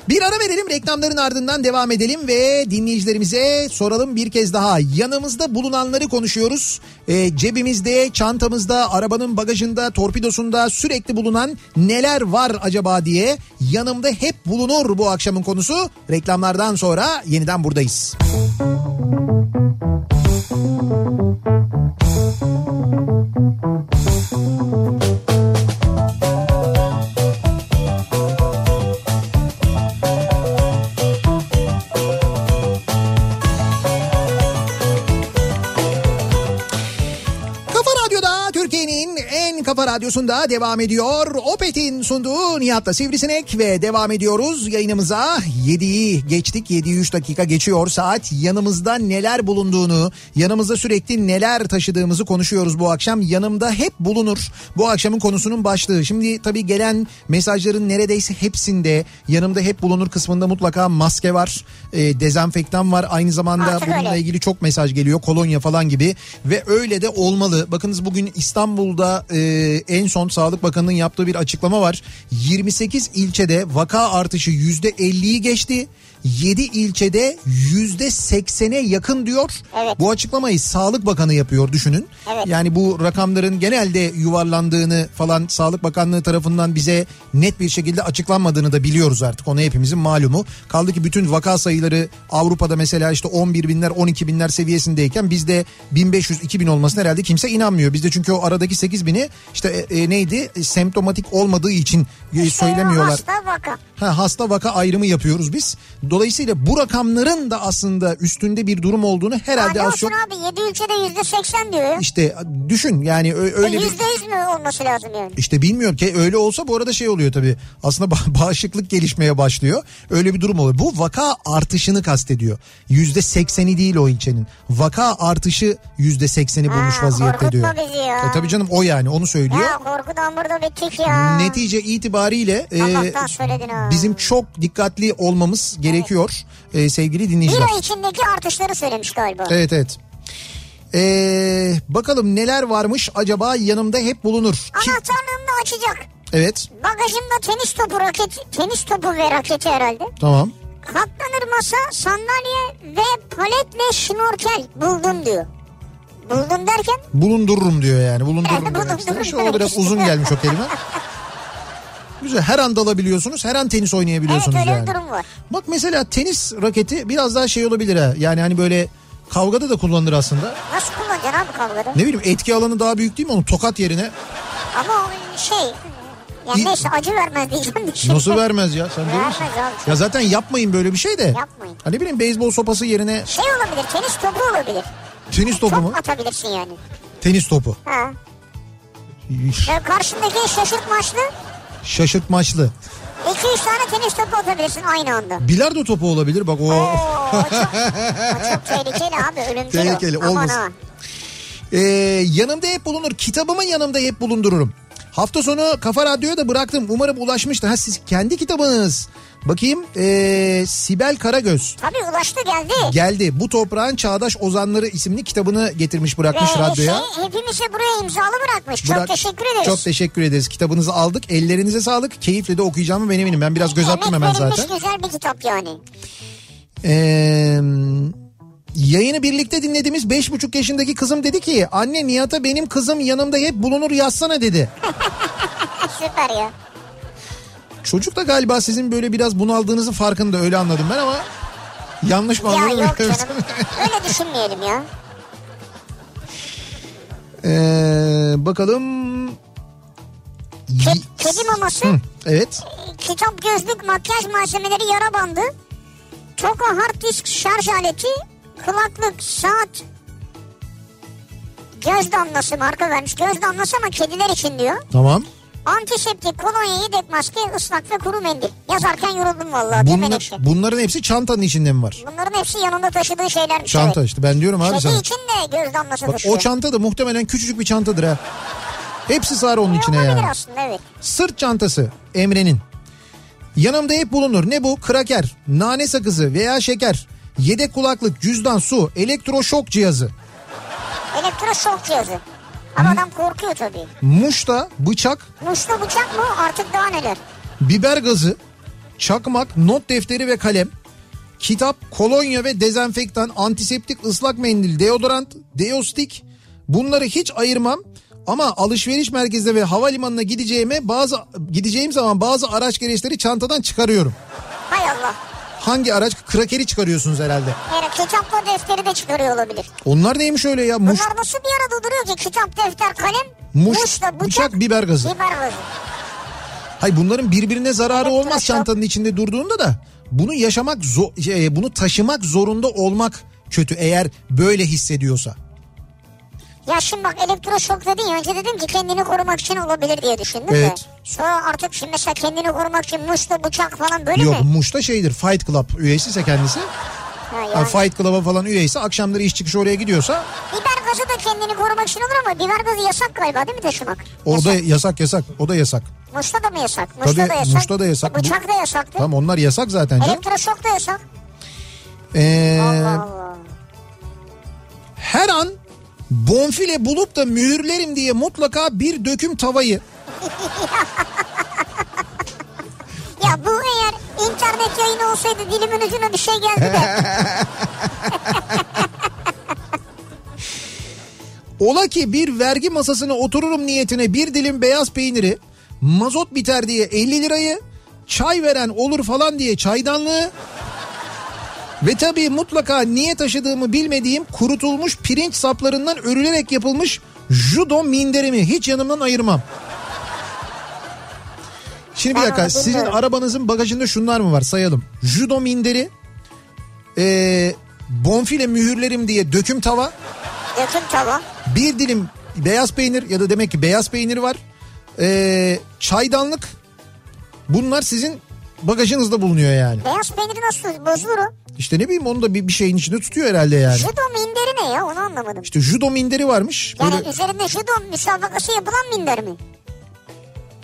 Bir ara verelim reklamların ardından devam edelim ve dinleyicilerimize soralım bir kez daha. Yanımızda bulunanları konuşuyoruz. Ee, cebimizde, çantamızda, arabanın bagajında, torpidosunda sürekli bulunan neler var acaba diye yanımda hep bulunur bu akşamın konusu. Reklamlardan sonra yeniden buradayız. Kafa Radyo'da Türkiye'nin en kafa radyosunda devam ediyor. Opet'in sunduğu Nihat'la Sivrisinek ve devam ediyoruz yayınımıza. 7'yi geçtik 7'yi 3 dakika geçiyor saat. Yanımızda neler bulunduğunu, yanımızda sürekli neler taşıdığımızı konuşuyoruz bu akşam. Yanımda hep bulunur bu akşamın konusunun başlığı. Şimdi tabii gelen mesajların neredeyse hepsinde yanımda hep bulunur kısmında mutlaka maske var, e, dezenfektan var. Aynı zamanda Artık bununla öyle. ilgili ilgili çok mesaj geliyor. Kolonya falan gibi ve öyle de olmalı. Bakınız bugün İstanbul'da e, en son Sağlık Bakanı'nın yaptığı bir açıklama var. 28 ilçede vaka artışı %50'yi geçti. 7 ilçede %80'e yakın diyor. Evet. Bu açıklamayı Sağlık Bakanı yapıyor düşünün. Evet. Yani bu rakamların genelde yuvarlandığını falan Sağlık Bakanlığı tarafından bize net bir şekilde açıklanmadığını da biliyoruz artık. Onu hepimizin malumu. Kaldı ki bütün vaka sayıları Avrupa'da mesela işte 11 binler 12 binler seviyesindeyken bizde 1500-2000 olmasına herhalde kimse inanmıyor. Bizde çünkü o aradaki 8 bini işte e, e, neydi E, semptomatik olmadığı için e, söylemiyorlar. Hasta vaka. Ha, hasta vaka ayrımı yapıyoruz biz. Dolayısıyla bu rakamların da aslında üstünde bir durum olduğunu herhalde Hadi az Hani olsun çok abi 7 ülkede %80 diyor ya. işte düşün yani ö- E, öyle bir %100 mü olması lazım yani? işte bilmiyorum ki öyle olsa bu arada şey oluyor tabii. Aslında ba- bağışıklık gelişmeye başlıyor. Öyle bir durum oluyor. Bu vaka artışını kastediyor. Yüzde sekseni değil o ilçenin. Vaka artışı yüzde sekseni bulmuş Ha, vaziyette korkutma diyor. bizi ya. E, tabii canım o yani onu söylüyor. Ya korkudan burada bittik ya. Netice itibariyle e, Allah'tan söyledin ha. bizim çok dikkatli olmamız gerekiyor e, sevgili Bir dinleyiciler. ay içindeki artışları söylemiş galiba. Evet evet. Ee, bakalım neler varmış acaba yanımda hep bulunur. Ki- Anahtarlığımda açacak. evet Bagajımda tenis topu raket, tenis topu ve raketi herhalde. tamam. Katlanır masa, sandalye ve palet ve şnorkel buldum diyor. Buldum derken Bulundururum diyor yani. Bulundururum Evet, demek istemiş. bulundururum O biraz demek uzun gelmiş o kelime. Güzel. Her an dalabiliyorsunuz. Her an tenis evet oynayabiliyorsunuz öyle yani. bir durum var. Bak mesela tenis raketi biraz daha şey olabilir ha. Yani hani böyle kavgada da kullanılır aslında. Nasıl kullanacaksın abi kavgada? Ne bileyim etki alanı daha büyük değil mi? Onu tokat yerine Ama o şey yani İ- neyse acı vermez diyeceğim de şimdi. nasıl vermez ya? Sen değil Vermez misin? abi. Ya zaten yapmayın böyle bir şey de. Yapmayın. Hani bileyim beyzbol sopası yerine Şey olabilir tenis topu olabilir. tenis topu Top mu? atabilirsin yani. Tenis topu. Ha. Ve karşındaki şaşırt maçlı Şaşırtmaçlı. 2-3 tane tenis topu atabilirsin aynı anda. Bilardo topu olabilir bak o. Oo, o çok, o çok tehlikeli abi ölümcül. o. Tehlikeli, Aman olmasın. ha. Ee, yanımda hep bulunur. Kitabımı yanımda hep bulundururum. Hafta sonu Kafa Radyo'ya da bıraktım. Umarım ulaşmıştır. Ha siz kendi kitabınız. Bakayım. Ee, Sibel Karagöz Tabii ulaştı geldi. geldi. Bu toprağın çağdaş ozanları isimli kitabını getirmiş bırakmış Ve radyoya. şey, hepimizi buraya imzalı bırakmış. Bırak- çok teşekkür ederiz. Çok teşekkür ederiz. Kitabınızı aldık. Ellerinize sağlık. Keyifle de okuyacağımı ben eminim. Ben biraz göz attım Emek hemen verilmiş zaten. güzel bir kitap yani. Ee, yayını birlikte dinlediğimiz beş buçuk yaşındaki kızım dedi ki anne Nihat'a benim kızım yanımda hep bulunur yazsana dedi. Ha, Süper ya. Çocuk da galiba sizin böyle biraz bunaldığınızın farkında öyle anladım ben ama yanlış mı Ya anladım? yok canım. Öyle düşünmeyelim ya. Ee, bakalım. Ke- kedi maması, Hı, evet. kitap gözlük, makyaj malzemeleri, yara bandı, toko hard disk şarj aleti, kulaklık, saat, göz damlası marka vermiş. Göz damlası ama kediler için diyor. Tamam. Antiseptik, kolonya, yedek maske, ıslak ve kuru mendil. Yazarken yoruldum vallahi değil mi Bunla- Menekşe? bunların hepsi çantanın içinde mi var? Bunların hepsi yanında taşıdığı şeylermiş. Çanta evet. işte ben diyorum abi Kedi sana. için de göz damlası Bak, düşüyor. o çanta da muhtemelen küçücük bir çantadır ha. Hepsi sığar onun içine Olabilir yani. aslında evet. Sırt çantası Emre'nin. Yanımda hep bulunur. Ne bu? Kraker, nane sakızı veya şeker. Yedek kulaklık, cüzdan, su, elektroşok cihazı. Elektroşok cihazı. Ama adam korkuyor tabii. Muşta, bıçak, Muşlu bıçak mı artık daha neler? biber gazı, çakmak, not defteri ve kalem. Kitap, kolonya ve dezenfektan, antiseptik, ıslak mendil, deodorant, deostik. Bunları hiç ayırmam. Ama alışveriş merkezine ve havalimanına gideceğime bazı gideceğim zaman bazı araç gereçleri çantadan çıkarıyorum. Hay Allah. Hangi araç? Krakeri çıkarıyorsunuz herhalde. Yani kitapla defteri de çıkarıyor olabilir. Onlar neymiş öyle ya? Muş, Bunlar nasıl bir arada duruyor ki? Kitap, defter, kalem, muş, muşla bıçak, bıçak, biber gazı. biber gazı. Hay bunların birbirine zararı Evet, olmaz evet. çantanın içinde durduğunda da bunu yaşamak zo- şey, bunu taşımak zorunda olmak kötü eğer böyle hissediyorsa. Ya şimdi bak elektroşok dedin ya önce dedim ki kendini korumak için olabilir diye düşündüm Evet. de. Sonra artık şimdi mesela kendini korumak için muşla bıçak falan böyle Yok mi? Muş'ta şeydir Fight Club üyesi ise kendisi. Ha, yani. Ha, Fight Club'a falan üyeyse akşamları iş çıkışı oraya gidiyorsa Biber gazı da kendini korumak için olur ama biber gazı yasak galiba değil mi taşımak? orada Yasak. yasak yasak o da yasak. Muşla da mı yasak? Muşla Tabii, da yasak. muşla da yasak. Bıçak da yasak. Tamam onlar yasak zaten. canım. Elektroşok da yasak. Ee, Allah Allah. her an bonfile bulup da mühürlerim diye mutlaka bir döküm tavayı. Ya bu eğer internet yayını olsaydı dilimin ucuna bir şey geldi de. Ola ki bir vergi masasına otururum niyetine bir dilim beyaz peyniri, mazot biter diye 50 lirayı, çay veren olur falan diye çaydanlığı ve tabii mutlaka niye taşıdığımı bilmediğim kurutulmuş pirinç saplarından örülerek yapılmış judo minderimi hiç yanımdan ayırmam. Şimdi bir Ben dakika onu sizin bilmiyorum. arabanızın bagajında şunlar mı var sayalım. Judo minderi, eee, bonfile mühürlerim diye döküm tava. Yakın tava. Bir dilim beyaz peynir ya da demek ki beyaz peynir var. Ee, çaydanlık. Bunlar sizin bagajınızda bulunuyor yani. Beyaz peyniri nasıl bozulur o? İşte ne bileyim onu da bir, bir şeyin içinde tutuyor herhalde yani. Judo minderi ne ya onu anlamadım. İşte judo minderi varmış. Yani Böyle üzerinde judo müsabakası yapılan minder mi?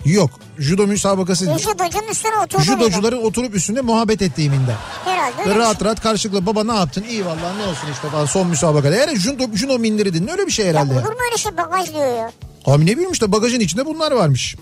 yok. Judo müsabakası E, değil. Judocunun üstüne oturdu minder. Judocuların oturup üstünde muhabbet ettiği minder. Herhalde öyle Ve bir rahat şey. rahat karşılıklı baba ne yaptın? İyi vallahi ne olsun işte falan son müsabakada. Eğer judo, judo minderi dedin öyle bir şey herhalde. Ya yani. olur mu öyle şey bagaj diyor ya. Abi ne bileyim işte bagajın içinde bunlar varmış.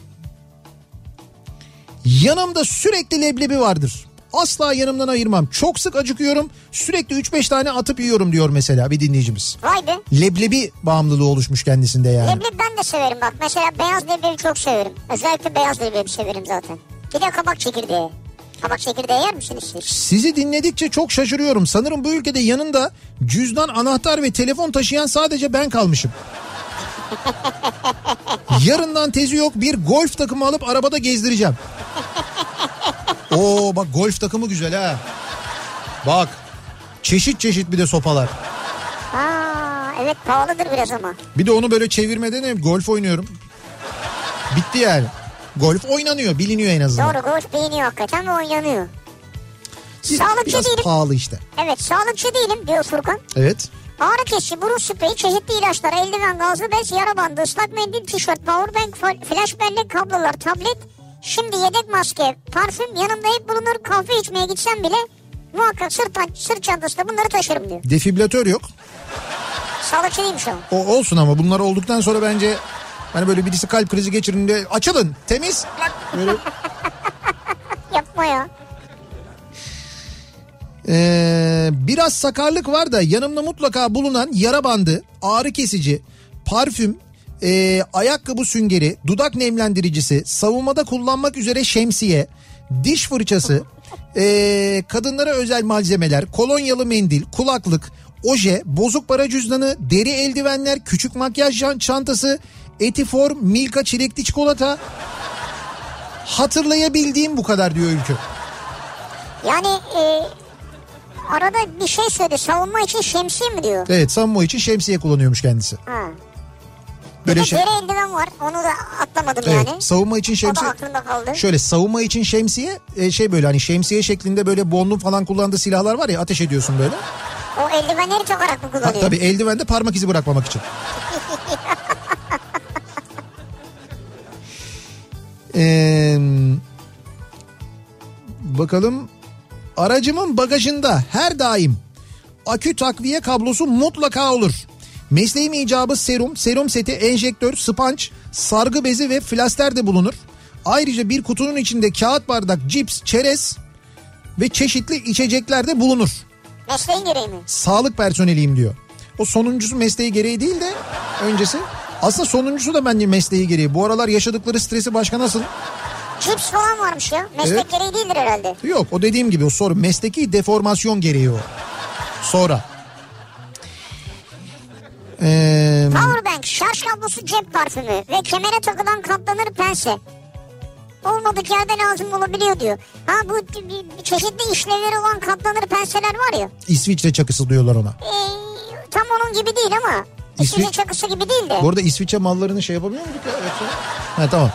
Yanımda sürekli leblebi vardır. Asla yanımdan ayırmam. Çok sık acıkıyorum. Sürekli 3-5 tane atıp yiyorum diyor mesela bir dinleyicimiz. Vay be. Leblebi bağımlılığı oluşmuş kendisinde yani. Leblebi ben de severim bak. Mesela beyaz leblebi çok severim. Özellikle beyaz leblebi severim zaten. Bir de kabak çekirdeği. Kabak çekirdeği yer misiniz siz? Sizi dinledikçe çok şaşırıyorum. Sanırım bu ülkede yanında cüzdan, anahtar ve telefon taşıyan sadece ben kalmışım. Yarından tezi yok bir golf takımı alıp arabada gezdireceğim. Oo bak golf takımı güzel ha. Bak çeşit çeşit bir de sopalar. Aa, evet pahalıdır biraz ama. Bir de onu böyle çevirmeden hep golf oynuyorum. Bitti yani. Golf oynanıyor biliniyor en azından. Doğru golf beğeniyor hakikaten ve oynanıyor. Siz Sağlıkçı Biraz değilim. pahalı işte. Evet sağlıkçı değilim diyor Furkan. Evet. Ağrı kesici, burun spreyi, çeşitli ilaçlar, eldiven, gazlı bez, yara bandı, ıslak mendil, tişört, powerbank, fol- flash bellek, kablolar, tablet. Şimdi yedek maske, parfüm yanımda hep bulunur. Kahve içmeye gitsem bile muhakkak sırt, tan- sırt çantasında bunları taşırım diyor. Defibrilatör yok. Sağlıkçı değilmiş ama. O olsun ama bunlar olduktan sonra bence hani böyle birisi kalp krizi geçirince açılın temiz. Böyle, Yapma ya. Ee, biraz sakarlık var da yanımda mutlaka bulunan yara bandı, ağrı kesici, parfüm, ee, ayakkabı süngeri, dudak nemlendiricisi, savunmada kullanmak üzere şemsiye, diş fırçası, ee, kadınlara özel malzemeler, kolonyalı mendil, kulaklık, oje, bozuk para cüzdanı, deri eldivenler, küçük makyaj çan- çantası, etiform, milka çilekli çikolata. Hatırlayabildiğim bu kadar diyor Ülkü. Yani e, arada bir şey söyledi. Savunma için şemsiye mi diyor? Evet Sammo için şemsiye kullanıyormuş kendisi. Ha. Bir Böyle de şey. deri eldiven var. Onu da atlamadım Evet, yani. savunma için O da şemsiye. aklımda kaldı. Şöyle savunma için şemsiye e, şey böyle hani şemsiye şeklinde böyle bonlu falan kullandığı silahlar var ya ateş ediyorsun böyle. O eldivenleri takarak mı Ha, kullanıyor? tabii eldivende parmak izi bırakmamak için. Ee, bakalım aracımın bagajında her daim akü takviye kablosu mutlaka olur. Mesleğim icabı serum, serum seti, enjektör, spanç, sargı bezi ve flaster de bulunur. Ayrıca bir kutunun içinde kağıt bardak, cips, çerez ve çeşitli içecekler de bulunur Mesleğin gereği mi? sağlık personeliyim diyor. O sonuncusu mesleği gereği değil de öncesi. Aslında sonuncusu da bence mesleği gereği. Bu aralar yaşadıkları stresi başka nasıl? Cips falan varmış ya. Meslek Evet. gereği değildir herhalde. Yok o dediğim gibi o soru mesleki deformasyon gereği o. Sonra. Ee, Powerbank, şarj kablosu, cep parfümü ve kemere takılan katlanır pense. Olmadık yerde lazım olabiliyor diyor. Ha bu bir- çeşitli işlevleri olan katlanır penseler var ya. İsviçre çakısı diyorlar ona. Ee, tam onun gibi değil ama. İsviçre İsviçre- çakısı gibi değil de. Bu arada İsviçre mallarını şey yapabiliyor muyduk ya? Yoksa... Ha tamam.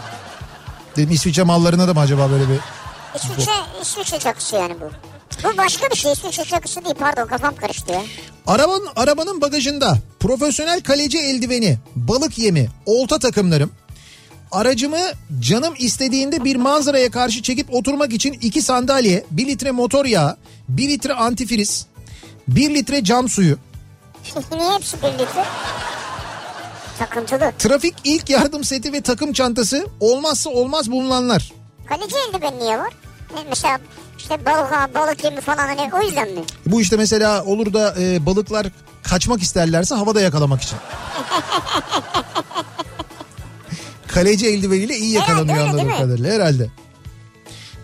Dedim İsviçre mallarına da mı acaba böyle bir... İsviçre, İsviçre çakısı yani bu. Bu başka bir şey. İsviçre çakısı değil. Pardon kafam karıştı ya. Arabanın, arabanın bagajında profesyonel kaleci eldiveni, balık yemi, olta takımlarım, aracımı canım istediğinde bir manzaraya karşı çekip oturmak için iki sandalye, bir litre motor yağı, bir litre antifriz, bir litre cam suyu, Niye hepsi bir litre? Takıntılı. Trafik ilk yardım seti ve takım çantası olmazsa olmaz bulunanlar. Kaleci eldiveni niye var? Ne, Mesela işte balığa balık yemi falan hani o yüzden mi? Bu işte mesela olur da e, balıklar kaçmak isterlerse havada yakalamak için. Kaleci eldiveniyle iyi Herhalde yakalanıyor öyle anladığım değil mi? kadarıyla herhalde.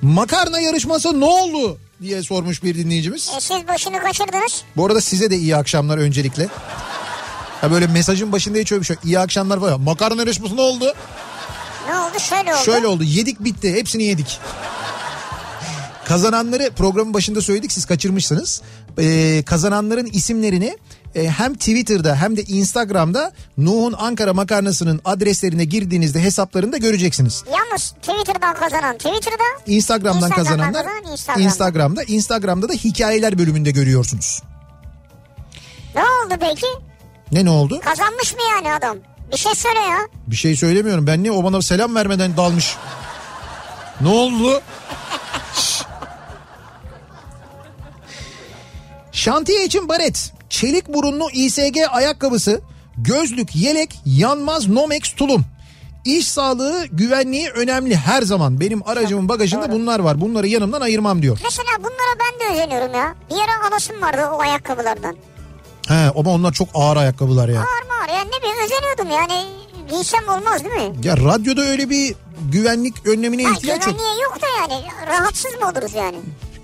Makarna yarışması ne oldu diye sormuş bir dinleyicimiz. E, siz başını kaçırdınız. Bu arada size de iyi akşamlar öncelikle. Ya böyle mesajın başında hiç öyle bir şey yok. İyi akşamlar falan. Makarna yarışması ne oldu? Ne oldu? Şöyle oldu. Şöyle oldu yedik bitti hepsini yedik. Kazananları programın başında söyledik siz kaçırmışsınız. Ee, kazananların isimlerini e, hem Twitter'da hem de Instagram'da Nuh'un Ankara makarnasının adreslerine girdiğinizde hesaplarında göreceksiniz. Yalnız Twitter'dan kazanan Twitter'da Instagram'dan, Instagram'dan kazananlar kazanan Instagram'da. Instagram'da Instagram'da da hikayeler bölümünde görüyorsunuz. ne oldu peki? Ne ne oldu? Kazanmış mı yani adam? Bir şey söyle ya. Bir şey söylemiyorum. Ben niye o bana selam vermeden dalmış? Ne oldu? Şantiye için baret, çelik burunlu İSG ayakkabısı, gözlük, yelek, yanmaz Nomex tulum. İş sağlığı, güvenliği önemli her zaman. Benim aracımın bagajında bunlar var. Bunları yanımdan ayırmam diyor. Mesela bunlara ben de özeniyorum ya. Bir ara anasım vardı o ayakkabılardan. He, ama onlar çok ağır ayakkabılar ya. Ağır mı ağır ya ne bir özeniyordum yani. Giysem olmaz değil mi? Ya radyoda öyle bir güvenlik önlemine Ha, ihtiyaç yok. güvenliğe yok da yani. Rahatsız mı oluruz yani?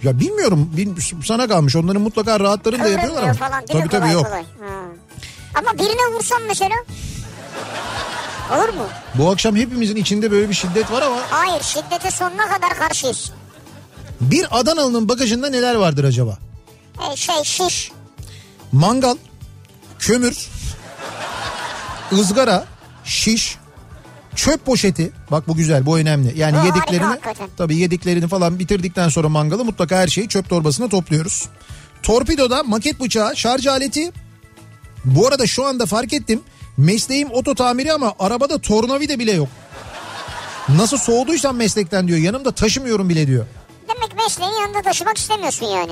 Ya bilmiyorum bil- sana kalmış. Onların mutlaka rahatlarını da yapıyorlar ama. Kıvrılmıyor falan değil tabii mi? tabii kolay yok. kolay. Ha. Ama birine vursam mesela. Olur mu? Bu akşam hepimizin içinde böyle bir şiddet var ama Hayır şiddete sonuna kadar karşıyız. bir Adanalı'nın bagajında neler vardır acaba? E, şey şiş. Mangal, kömür, ızgara, şiş, çöp poşeti. Bak bu güzel, bu önemli. Yani Bu harika yediklerini hakikaten. tabii yediklerini falan bitirdikten sonra mangalı mutlaka her şeyi çöp torbasına topluyoruz. Torpidoda maket bıçağı, şarj aleti. Bu arada şu anda fark ettim. Mesleğim oto tamiri ama arabada tornavida bile yok. Nasıl soğuduysam meslekten diyor. Yanımda taşımıyorum bile diyor. Demek mesleğin yanında taşımak istemiyorsun yani.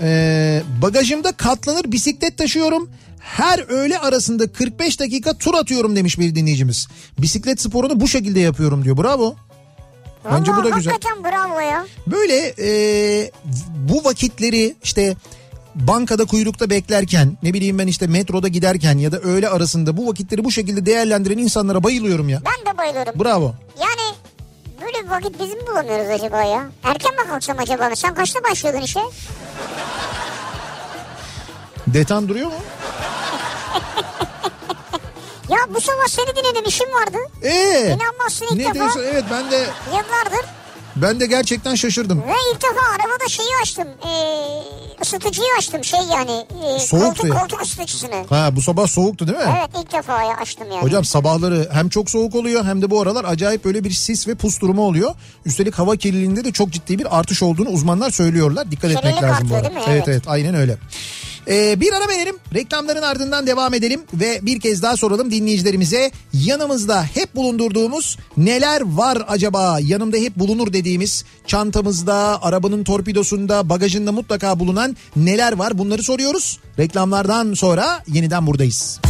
Ee, bagajımda katlanır bisiklet taşıyorum. Her öğle arasında 45 dakika tur atıyorum demiş bir dinleyicimiz. Bisiklet sporunu bu şekilde yapıyorum diyor. Bravo. Bence bu Vallahi da güzel. Hakikaten bravo ya. Böyle e, bu vakitleri işte bankada kuyrukta beklerken ne bileyim ben işte metroda giderken ya da öğle arasında bu vakitleri bu şekilde değerlendiren insanlara bayılıyorum ya. Ben de bayılıyorum. Bravo. Yani böyle bir vakit biz mi bulamıyoruz acaba ya? Erken mi kalksam acaba? Sen kaçta başlıyordun işe? Detan duruyor mu? Ya bu sabah seni dinledim işim vardı. Ee, İnanmazsın ilk ne defa. diyorsun? Evet ben de Yıllardır. ben de gerçekten şaşırdım. Ve ilk defa arabada şeyi açtım. Ee, ısıtıcıyı açtım şey yani. E, Soğuktu koltuk, ya. koltuk ısıtıcısını. Ha bu sabah soğuktu değil mi? Evet ilk defa ya açtım yani. Hocam sabahları hem çok soğuk oluyor hem de bu aralar acayip böyle bir sis ve pus durumu oluyor. Üstelik hava kirliliğinde de çok ciddi bir artış olduğunu uzmanlar söylüyorlar. Dikkat Kirlilik etmek lazım bu artıyor arada. değil mi? Evet Evet. evet aynen öyle. Ee, bir ara verelim. Reklamların ardından devam edelim ve bir kez daha soralım dinleyicilerimize. Yanımızda hep bulundurduğumuz neler var acaba? Yanımda hep bulunur dediğimiz çantamızda, arabanın torpidosunda, bagajında mutlaka bulunan neler var? Bunları soruyoruz. Reklamlardan sonra yeniden buradayız.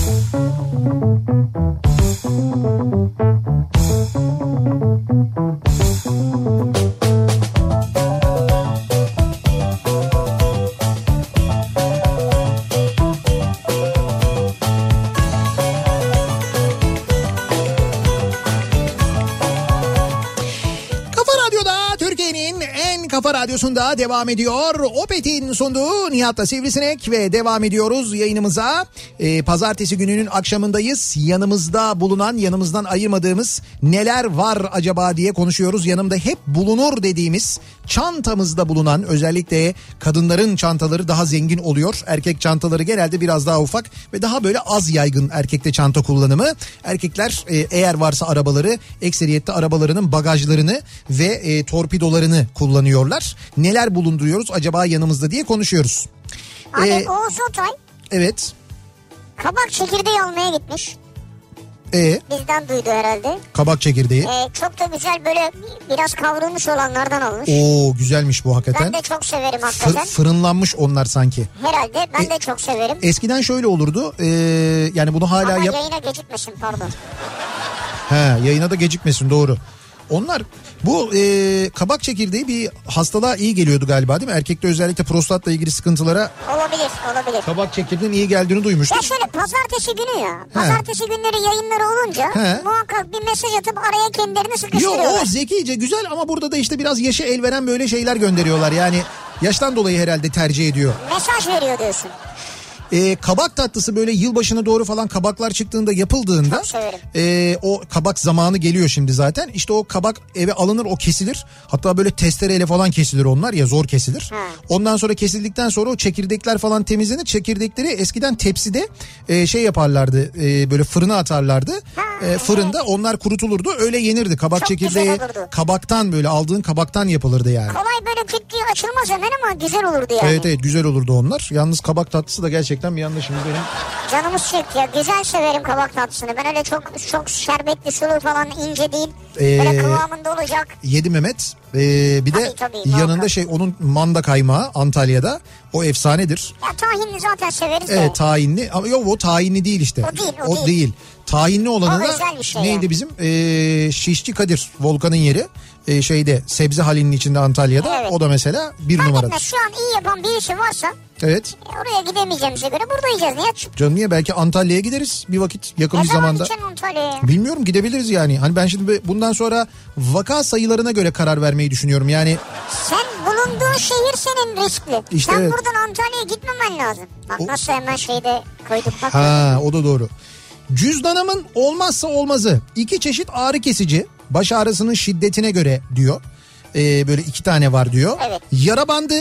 Kafa Radyo'da Türkiye'nin en kafa radyosunda devam ediyor. Opet'in sunduğu Nihat'la Sivrisinek ve devam ediyoruz yayınımıza. Ee, Pazartesi gününün akşamındayız. Yanımızda bulunan, yanımızdan ayırmadığımız neler var acaba diye konuşuyoruz. Yanımda hep bulunur dediğimiz çantamızda bulunan özellikle kadınların çantaları daha zengin oluyor. Erkek çantaları genelde biraz daha ufak ve daha böyle az yaygın erkekte çanta kullanımı. Erkekler e, eğer varsa arabaları ekseriyette arabalarının bagajlarını ve e, torpidolarını kullanıyorlar. Neler bulunduruyoruz acaba yanımızda diye konuşuyoruz. Abi Ee, Oğuz Otay evet. kabak çekirdeği almaya gitmiş. E Bizden duydu herhalde. kabak çekirdeği. Ee, çok da güzel böyle biraz kavrulmuş olanlardan almış. Oo güzelmiş bu Ben hakikaten. de çok severim Fır- hakikaten. fırınlanmış onlar sanki. Herhalde ben de çok severim. Eskiden şöyle olurdu. e, yani bunu E, hala Ama yap. yayına gecikmesin pardon. He, yayına da gecikmesin doğru. Onlar bu e, kabak çekirdeği bir hastalığa iyi geliyordu galiba değil mi? Erkekte özellikle prostatla ilgili sıkıntılara Olabilir olabilir. kabak çekirdeğinin iyi geldiğini duymuştuk. Ya şöyle pazartesi günü ya. Pazartesi günleri yayınları olunca He. muhakkak bir mesaj atıp araya kendilerini Yo sıkıştırıyorlar. o zekice güzel ama burada da işte biraz yaşa el veren böyle şeyler gönderiyorlar. Yani yaştan dolayı herhalde tercih ediyor. Mesaj veriyor diyorsun. E, kabak tatlısı böyle yılbaşına doğru falan kabaklar çıktığında yapıldığında Çok severim. e, o kabak zamanı geliyor şimdi zaten. İşte o kabak eve alınır o kesilir. Hatta böyle testereyle falan kesilir onlar ya zor kesilir. Ondan sonra kesildikten sonra o çekirdekler falan temizlenir. Çekirdekleri eskiden tepside e, şey yaparlardı e, böyle fırına atarlardı. E, fırında onlar kurutulurdu öyle yenirdi. Kabak Çok güzel çekirdeği olurdu. kabaktan böyle aldığın kabaktan yapılırdı yani. Kolay böyle küt diye açılmaz hemen ama güzel olurdu yani. Evet evet güzel olurdu onlar. Yalnız kabak tatlısı da gerçekten bir yanlış şimdi benim Canımız çekti ya. Güzel severim kabak tatlısını. Ben öyle çok çok şerbetli sulu falan ince değil. Ee, Böyle kıvamında olacak. Yedi Mehmet. Ee, bir de Tabii, tabii, yanında muhakkak. şey onun manda kaymağı Antalya'da. O efsanedir. Ya tahinli zaten severiz Evet de. tayinli ama yok o tayinli değil işte. O değil, o değil. Tayinli olanı O da özel bir şey neydi yani. bizim? Ee, Şişçi Kadir Volkan'ın yeri. Ee, şeyde sebze halinin içinde Antalya'da. Evet. O da mesela bir Fark etmez numaradır. şu an iyi yapan birisi varsa Evet. e, oraya gidemeyeceğimize göre burada yiyeceğiz. Niye? Çünkü Canım niye belki Antalya'ya gideriz bir vakit yakın Ne bir zaman zamanda. gideceksin Antalya'ya? Bilmiyorum gidebiliriz yani. Hani ben şimdi bu- bundan sonra vaka sayılarına göre karar vermeyi düşünüyorum. Yani Sen bulunduğun şehir senin riskli. İşte Sen evet. buradan Antalya'ya gitmemen lazım. Bak O- nasıl hemen şeyde koyduk bak. Ha o da doğru. Cüzdanımın olmazsa olmazı iki çeşit ağrı kesici baş ağrısının şiddetine göre diyor. Ee, böyle iki tane var diyor. Evet. Yara bandı,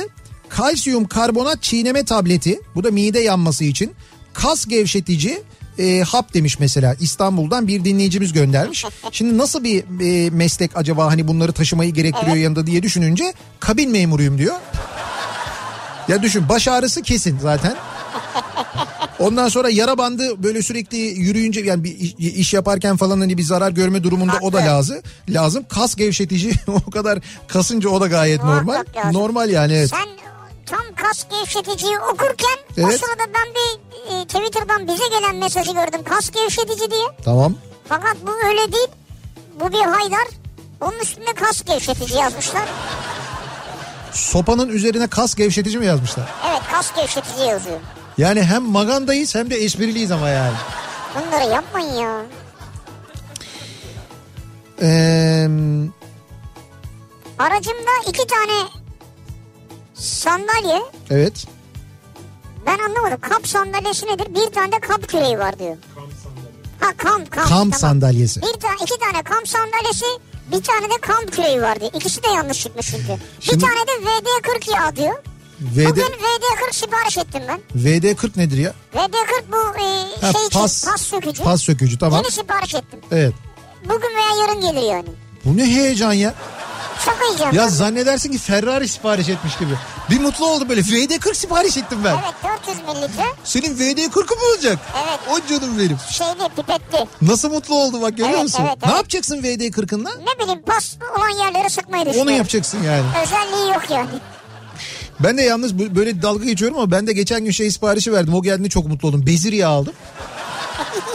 kalsiyum karbonat çiğneme tableti bu da mide yanması için kas gevşetici e, hap demiş mesela İstanbul'dan bir dinleyicimiz göndermiş. Şimdi nasıl bir e, meslek acaba hani bunları taşımayı gerektiriyor yanında diye düşününce kabin memuruyum diyor. Ya düşün baş ağrısı kesin zaten. Ondan sonra yara bandı böyle sürekli yürüyünce yani bir iş- iş yaparken falan hani bir zarar görme durumunda o da Haklı. lazım. Lazım kas gevşetici o kadar kasınca o da gayet Muhakkak normal. lazım. Normal yani evet. Sen tam kas gevşeticiyi okurken o Evet. sırada ben bir e, Twitter'dan bize gelen mesajı gördüm. Kas gevşetici diye. Tamam. Fakat bu öyle değil. Bu bir haydar. Onun üstünde kas gevşetici yazmışlar. Sopanın üzerine kas gevşetici mi yazmışlar? Evet kas gevşetici yazıyor. Yani hem magandayız hem de espriliyiz ama yani. Bunları yapmayın ya. Ee, Aracımda iki tane sandalye. evet. Ben anlamadım. Kamp sandalyesi nedir? Bir tane de kamp küreği var diyor. Ha kamp kamp. Kamp sandalyesi. Bir tane iki tane kamp sandalyesi bir tane de kamp küreği var diyor. İkisi de yanlış çıkmış çünkü. Şimdi- Bir tane de VD40 yağ diyor. VD, Bugün VD40 sipariş ettim ben. VD40 nedir ya? VD40 bu e, Ha, şey için pas- pas sökücü. Pas sökücü tamam. Yeni sipariş ettim. Evet. Bugün veya yarın gelir yani. Bu ne heyecan ya. Çok heyecanlı. Ya zannedersin ki Ferrari sipariş etmiş gibi. Bir mutlu oldum böyle. VD40 sipariş ettim ben. Evet 400 mililitre Senin VD40'ı mı olacak? Evet. O canım benim. şeyli pipetli. Nasıl mutlu oldum bak görüyor Evet, musun? evet, Ne evet. yapacaksın VD40'ınla? Ne bileyim pas olan yerleri sıkmayı düşünüyorum. Onu yapacaksın yani. Özelliği yok yani. Ben de yalnız bu- böyle dalga geçiyorum ama ben de geçen gün şey siparişi verdim. O geldiğinde çok mutlu oldum. Bezir yağı aldım.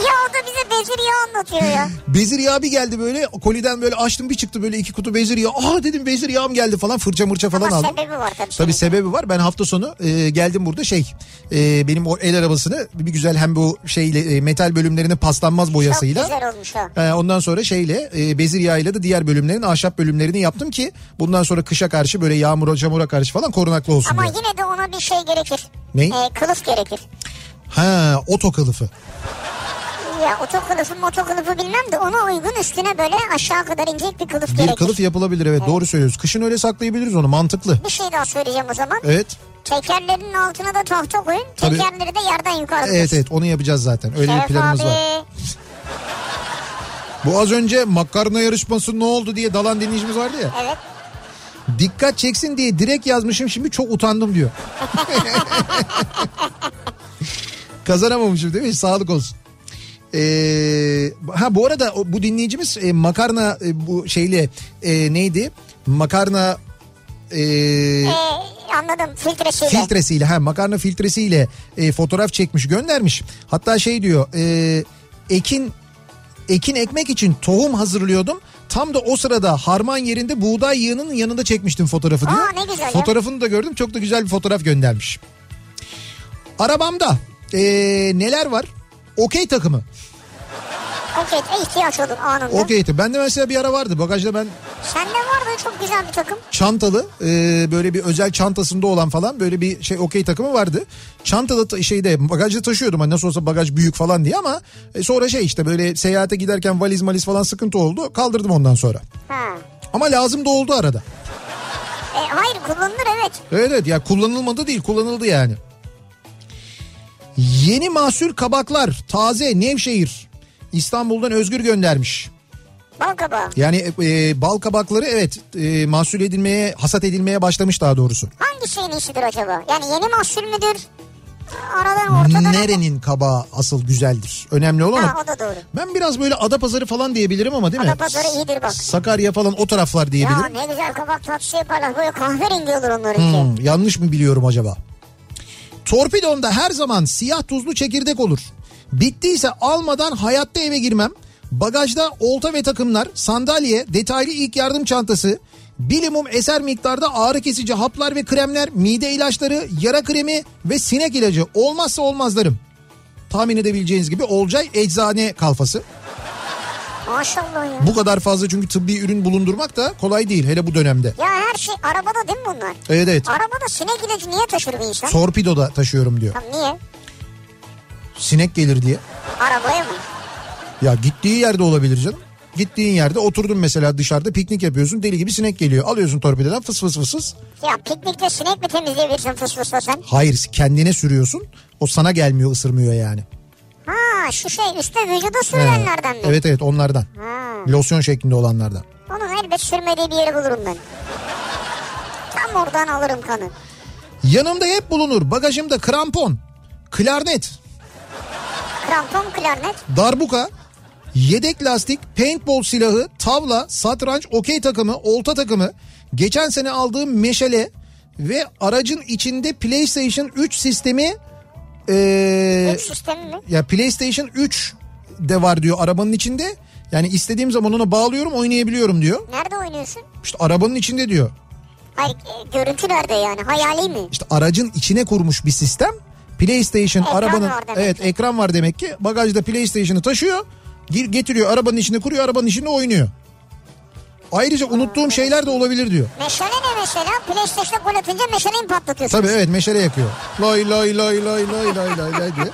ya o da bize bezir yağı anlatıyor ya. Bezir yağı bir geldi böyle koliden böyle açtım bir çıktı böyle iki kutu bezir yağı. Aa dedim bezir yağım geldi falan fırça mırça falan Ama aldım. sebebi var tabii. Tabii şimdi. sebebi var. Ben hafta sonu e, geldim burada şey e, benim o el arabasını bir güzel hem bu şeyle e, metal bölümlerinin paslanmaz Çok boyasıyla. güzel olmuş o. E, ondan sonra şeyle e, bezir yağıyla da diğer bölümlerin ahşap bölümlerini yaptım ki bundan sonra kışa karşı böyle yağmura çamura karşı falan korunaklı olsun Ama diye. yine de ona bir şey gerekir. Ne? Ee, kılıf gerekir. Ha oto kılıfı. Ya oto kılıfı moto kılıfı bilmem de ona uygun üstüne böyle aşağı kadar inecek bir kılıf Bir gerekir. kılıf yapılabilir evet, doğru söylüyoruz. Kışın öyle saklayabiliriz onu mantıklı. Bir şey daha söyleyeceğim o zaman. Evet. Tekerlerin altına da tahta koyun. Tabii. Tekerleri de yerden yukarı. Evet evet onu yapacağız zaten. Öyle bir planımız abi. var. Bu az önce makarna yarışması ne oldu diye dalan dinleyicimiz vardı ya. Evet. Dikkat çeksin diye direkt yazmışım şimdi çok utandım diyor. Kazanamamışım değil mi? Sağlık olsun. Ee, ha bu arada o- bu dinleyicimiz e, makarna e, bu şeyle e, neydi? Makarna e, Ee, anladım filtresiyle. filtresiyle ha makarna filtresiyle e, fotoğraf çekmiş göndermiş. Hatta şey diyor e, ekin ekin ekmek için tohum hazırlıyordum. Tam da o sırada harman yerinde buğday yığınının yanında çekmiştim fotoğrafı diyor. Aa, ne güzel ya. Fotoğrafını da gördüm çok da güzel bir fotoğraf göndermiş. Arabamda e, neler var? Okey takımı. Okey e, ihtiyaç olur anında. Okey takımı. Bende mesela bir ara vardı bagajda ben Sende vardı çok güzel bir takım. çantalı e, böyle bir özel çantasında olan falan böyle bir şey okey takımı vardı. Çantada ta- şeyde bagajda taşıyordum hani nasıl olsa bagaj büyük falan diye ama e, sonra şey işte böyle seyahate giderken valiz maliz falan sıkıntı oldu kaldırdım ondan sonra. Ha. Ama lazım da oldu arada. E, hayır kullanılır evet. Evet evet ya kullanılmadı değil kullanıldı yani. Yeni mahsul kabaklar taze Nevşehir İstanbul'dan Özgür göndermiş. Bal kabağı. Yani e, bal kabakları evet e, mahsul edilmeye hasat edilmeye başlamış daha doğrusu. Hangi şeyin işidir acaba? Yani yeni mahsul müdür? Aradan ortadan. Nerenin kabağı asıl güzeldir? Önemli olan Ha o. o da doğru. Ben biraz böyle Adapazarı falan diyebilirim ama değil mi? Adapazarı iyidir bak. Sakarya falan o taraflar Ya diyebilirim. ne güzel kabak tatlısı yaparlar. Böyle kahverengi olur onlarınki. Hmm, yanlış mı biliyorum acaba? Torpidonda her zaman siyah tuzlu çekirdek olur. Bittiyse almadan hayatta eve girmem. Bagajda olta ve takımlar, sandalye, detaylı ilk yardım çantası, bilimum eser miktarda ağrı kesici haplar ve kremler, mide ilaçları, yara kremi ve sinek ilacı olmazsa olmazlarım. Tahmin edebileceğiniz gibi Olcay eczane kalfası. Maşallah ya. Bu kadar fazla çünkü tıbbi ürün bulundurmak da kolay değil hele bu dönemde. Ya her şey arabada değil mi bunlar? Evet evet. Arabada sinek ilacı niye taşır bir insan? Torpidoda taşıyorum diyor. Tam niye? Sinek gelir diye. Arabaya mı? Ya gittiği yerde olabilir canım. Gittiğin yerde oturdun mesela dışarıda piknik yapıyorsun deli gibi sinek geliyor. Alıyorsun torpidodan fıs fıs fıs fıs. Ya piknikte sinek mi temizleyebilirsin fıs fısla sen? Hayır kendine sürüyorsun. O sana gelmiyor ısırmıyor yani. Ha şu şey üstte vücuda Ee, sürülenlerden mi? Evet evet onlardan. Ha. Losyon şeklinde olanlardan. Onun elbet sürmediği bir yeri bulurum ben. Tam oradan alırım kanı. Yanımda hep bulunur bagajımda krampon, klarnet, Krampon klarnet. darbuka, yedek lastik, paintball silahı, tavla, satranç, okey takımı, olta takımı, geçen sene aldığım meşale ve aracın içinde PlayStation 3 sistemi eee, Ee, Güç sistemi mi? ya PlayStation 3 de var diyor arabanın içinde. Yani istediğim zaman ona bağlıyorum oynayabiliyorum diyor. Nerede oynuyorsun? İşte arabanın içinde diyor. Hayır e, görüntü nerede yani? Hayali mi? İşte aracın içine kurmuş bir sistem. PlayStation Ekran arabanın var demek evet ekran var demek ki. Bagajda PlayStation'ı taşıyor. gir- Getiriyor arabanın içine kuruyor arabanın içinde oynuyor. Ayrıca unuttuğum şeyler de olabilir diyor. Meşale ne mesela? PlayStation'da gol atınca meşaleyi mi patlatıyorsun? Tabii evet meşale yakıyor. Lay lay lay lay lay lay lay lay diye.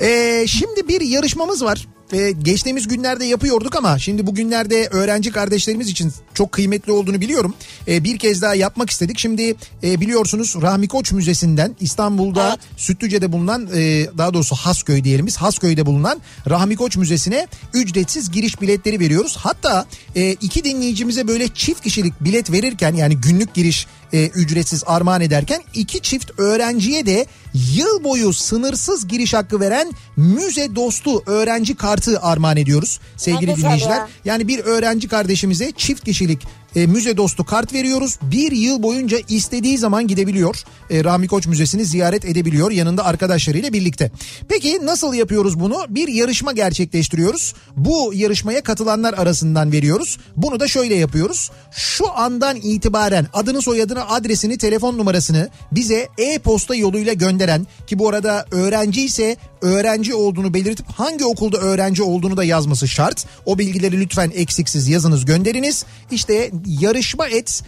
Ee, şimdi bir yarışmamız var. Ee, geçtiğimiz günlerde yapıyorduk ama şimdi bugünlerde öğrenci kardeşlerimiz için çok kıymetli olduğunu biliyorum. Ee, bir kez daha yapmak istedik. Şimdi e, biliyorsunuz Rahmi Koç Müzesi'nden İstanbul'da Evet. Sütlüce'de bulunan e, daha doğrusu Hasköy diyelim biz Hasköy'de bulunan Rahmi Koç Müzesi'ne ücretsiz giriş biletleri veriyoruz. Hatta e, iki dinleyicimize böyle çift kişilik bilet verirken yani günlük giriş e, ücretsiz armağan ederken iki çift öğrenciye de yıl boyu sınırsız giriş hakkı veren müze dostu öğrenci kartı armağan ediyoruz sevgili güzel dinleyiciler. ya. Yani bir öğrenci kardeşimize çift kişilik e, müze dostu kart veriyoruz. Bir yıl boyunca istediği zaman gidebiliyor. E, Rahmi Koç Müzesi'ni ziyaret edebiliyor yanında arkadaşlarıyla birlikte. Peki nasıl yapıyoruz bunu? Bir yarışma gerçekleştiriyoruz. Bu yarışmaya katılanlar arasından veriyoruz. Bunu da şöyle yapıyoruz. Şu andan itibaren adını soyadını adresini telefon numarasını bize e-posta yoluyla gönderen ki bu arada öğrenci ise öğrenci olduğunu belirtip hangi okulda öğrenci olduğunu da yazması şart. O bilgileri lütfen eksiksiz yazınız gönderiniz. İşte yarışma et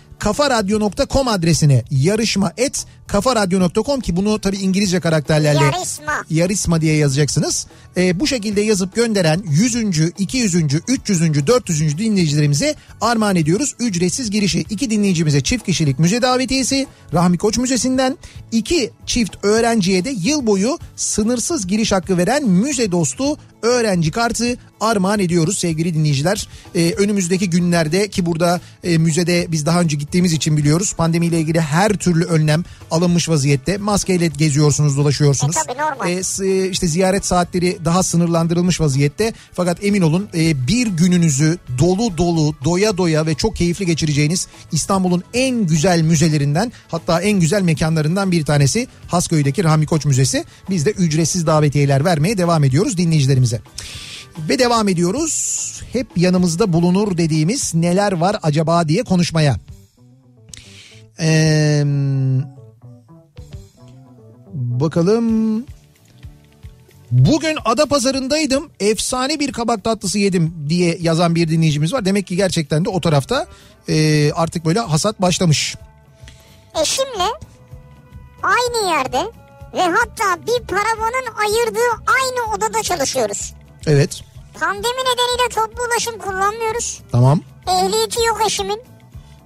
kafaradyo.com adresine yarışma et kafaradyo.com ki bunu tabi İngilizce karakterlerle Yarışma. yarışma diye yazacaksınız. Ee, bu şekilde yazıp gönderen 100. 200. 300. 400. dinleyicilerimize armağan ediyoruz. Ücretsiz girişi iki dinleyicimize çift kişilik müze davetiyesi Rahmi Koç Müzesi'nden iki çift öğrenciye de yıl boyu sınırsız giriş hakkı veren müze dostu öğrenci kartı armağan ediyoruz sevgili dinleyiciler. Ee, önümüzdeki günlerde ki burada e, müzede biz daha önce gittik gittiğimiz için biliyoruz. Pandemiyle ilgili her türlü önlem alınmış vaziyette. Maskeyle geziyorsunuz, dolaşıyorsunuz. E tabii, normal. s- işte ziyaret saatleri daha sınırlandırılmış vaziyette. Fakat emin olun e, bir gününüzü dolu dolu, doya doya ve çok keyifli geçireceğiniz İstanbul'un en güzel müzelerinden hatta en güzel mekanlarından bir tanesi Hasköy'deki Rahmi Koç Müzesi. Biz de ücretsiz davetiyeler vermeye devam ediyoruz dinleyicilerimize. Ve devam ediyoruz. Hep yanımızda bulunur dediğimiz neler var acaba diye konuşmaya. Eee, bakalım. Bugün Adapazarı'ndaydım. Efsane bir kabak tatlısı yedim diye yazan bir dinleyicimiz var. Demek ki gerçekten de o tarafta eee, artık böyle hasat başlamış. Eşimle E aynı yerde ve hatta bir paravanın ayırdığı aynı odada çalışıyoruz. Evet. Pandemi nedeniyle toplu ulaşım kullanmıyoruz. Tamam. Ehliyeti yok eşimin.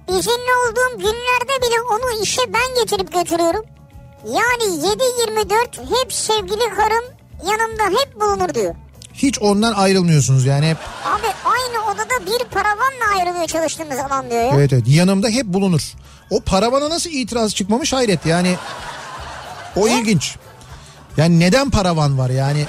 İzinli olduğum günlerde bile onu işe ben getirip götürüyorum. Yani 7-24 hep sevgili karım yanımda hep bulunur diyor. Hiç ondan ayrılmıyorsunuz yani hep. Abi aynı odada bir paravanla ayrılıyor çalıştığımız alan diyor ya. Evet evet yanımda hep bulunur. O paravana nasıl itiraz çıkmamış hayret yani. O ilginç. Yani neden paravan var yani?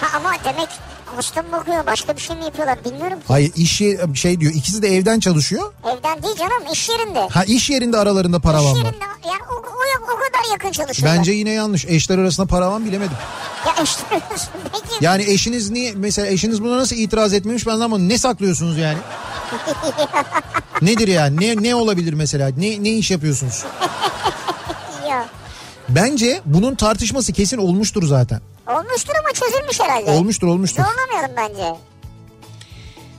Ha, ama demek hasta mı bakıyor başka bir şey mi yapıyorlar bilmiyorum. Hayır iş yeri- şey diyor ikisi de evden çalışıyor. Evden değil canım iş yerinde. Ha iş yerinde aralarında İş paravan var. yerinde yani o, o, o kadar yakın çalışıyorlar. Bence yine yanlış. Eşler arasında paravan bilemedim. Ya işte peki. Yani eşiniz niye mesela eşiniz buna nasıl itiraz etmemiş ben ama ne saklıyorsunuz yani? Nedir yani? Ne ne olabilir mesela? Ne ne iş yapıyorsunuz? Ya. Bence bunun tartışması kesin olmuştur zaten. Olmuştur ama çözülmüş herhalde. Olmuştur olmuştur. Zorlamayalım bence.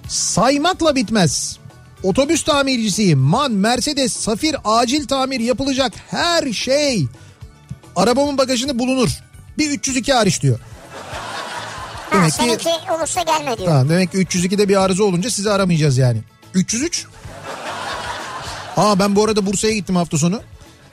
Saymakla bitmez. Otobüs tamircisiyim. Man, Mercedes, Safir acil tamir yapılacak her şey. Arabamın bagajında bulunur. Bir 302 hariç diyor. Ha, Demek ki- seninki olursa gelme diyor. Tamam demek ki 302'de bir arıza olunca sizi aramayacağız yani. 303? Aa ben bu arada Bursa'ya gittim hafta sonu.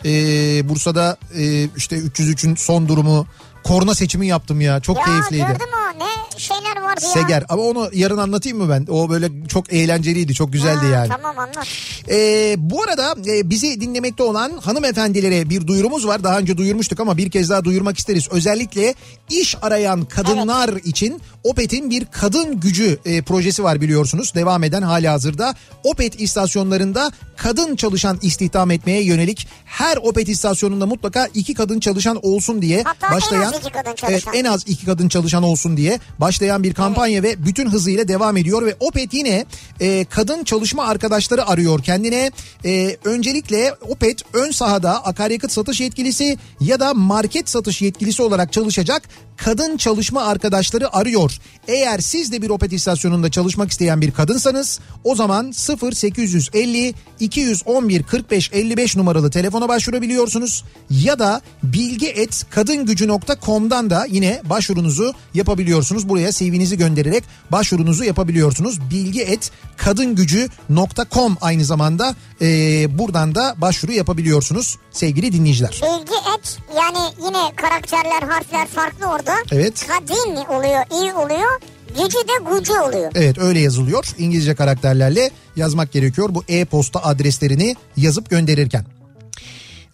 Ee, Bursa'da e, işte 303'ün son durumu korna seçimi yaptım ya. Çok Ya keyifliydi. gördün mü ne şeyler vardı ya. Seger ama onu yarın anlatayım mı ben? O böyle çok eğlenceliydi, çok güzeldi Ha, yani. Tamam anlat. Ee, bu arada e, bizi dinlemekte olan hanımefendilere bir duyurumuz var. Daha önce duyurmuştuk ama bir kez daha duyurmak isteriz. Özellikle iş arayan kadınlar için Opet'in bir kadın gücü e, projesi var biliyorsunuz. Devam eden hali hazırda Opet istasyonlarında kadın çalışan istihdam etmeye yönelik her Opet istasyonunda mutlaka iki kadın çalışan olsun diye Hatta en az başlayan iki kadın Evet, çalışan. en az iki kadın çalışan olsun diye başlayan bir kampanya ve bütün hızıyla devam ediyor ve Opet yine e, kadın çalışma arkadaşları arıyor kendine. E, öncelikle Opet ön sahada akaryakıt satış yetkilisi ya da market satış yetkilisi olarak çalışacak kadın çalışma arkadaşları arıyor. Eğer siz de bir Opet istasyonunda çalışmak isteyen bir kadınsanız o zaman 0850 211 45 55 numaralı telefona başvurabiliyorsunuz ya da bilgi et kadıngücü.com'dan da yine başvurunuzu yapabiliyorsunuz. Buraya CV'nizi göndererek başvurunuzu yapabiliyorsunuz. Bilgi et kadıngücü.com aynı zamanda eee, buradan da başvuru yapabiliyorsunuz sevgili dinleyiciler. Bilgi et yani yine karakterler harfler farklı orada. Evet. Kadın oluyor iyi oluyor. Gücü de gucu oluyor. Evet öyle yazılıyor. İngilizce karakterlerle yazmak gerekiyor bu e-posta adreslerini yazıp gönderirken.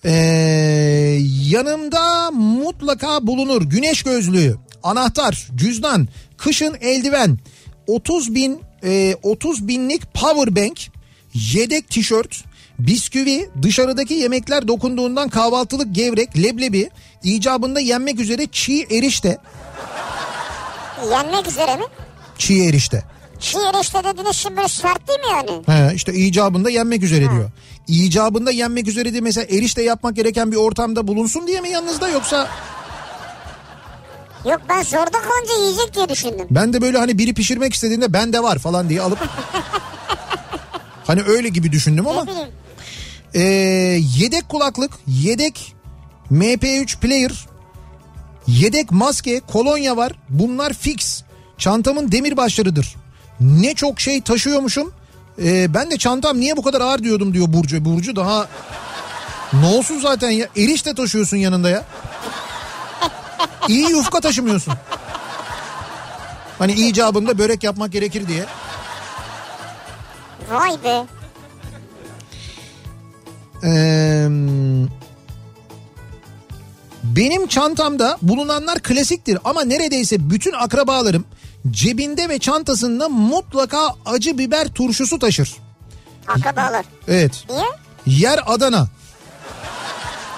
Ee, yanımda mutlaka bulunur güneş gözlüğü, anahtar, cüzdan, kışın eldiven, 30 bin e, 30 binlik power bank, yedek tişört, bisküvi, dışarıdaki yemekler dokunduğundan kahvaltılık gevrek, leblebi, icabında yenmek üzere çiğ erişte, Yenmek üzere mi? çiğ erişte. Şiir işte dediğiniz şimdi böyle sert değil mi yani? He, işte icabında yenmek üzere diyor. İcabında yenmek üzere diye mesela erişte yapmak gereken bir ortamda bulunsun diye mi yanınızda yoksa Yok ben zorda kalınca yiyecek diye düşündüm. ben de böyle hani biri pişirmek istediğinde ben de var falan diye alıp hani öyle gibi düşündüm ama Ne bileyim. Ee, yedek kulaklık, yedek MP3 player, yedek maske, kolonya var. Bunlar fix. Çantamın demir başlarıdır. Ne çok şey taşıyormuşum. Ee, ben de çantam niye bu kadar ağır diyordum diyor Burcu. Burcu daha ne olsun zaten ya erişte taşıyorsun yanında ya. İyi yufka taşımıyorsun. Hani icabında börek yapmak gerekir diye. Vay be. Ee, benim çantamda bulunanlar klasiktir ama neredeyse bütün akrabalarım cebinde ve çantasında mutlaka acı biber turşusu taşır. Akrabalar. Evet. Niye? Yer Adana.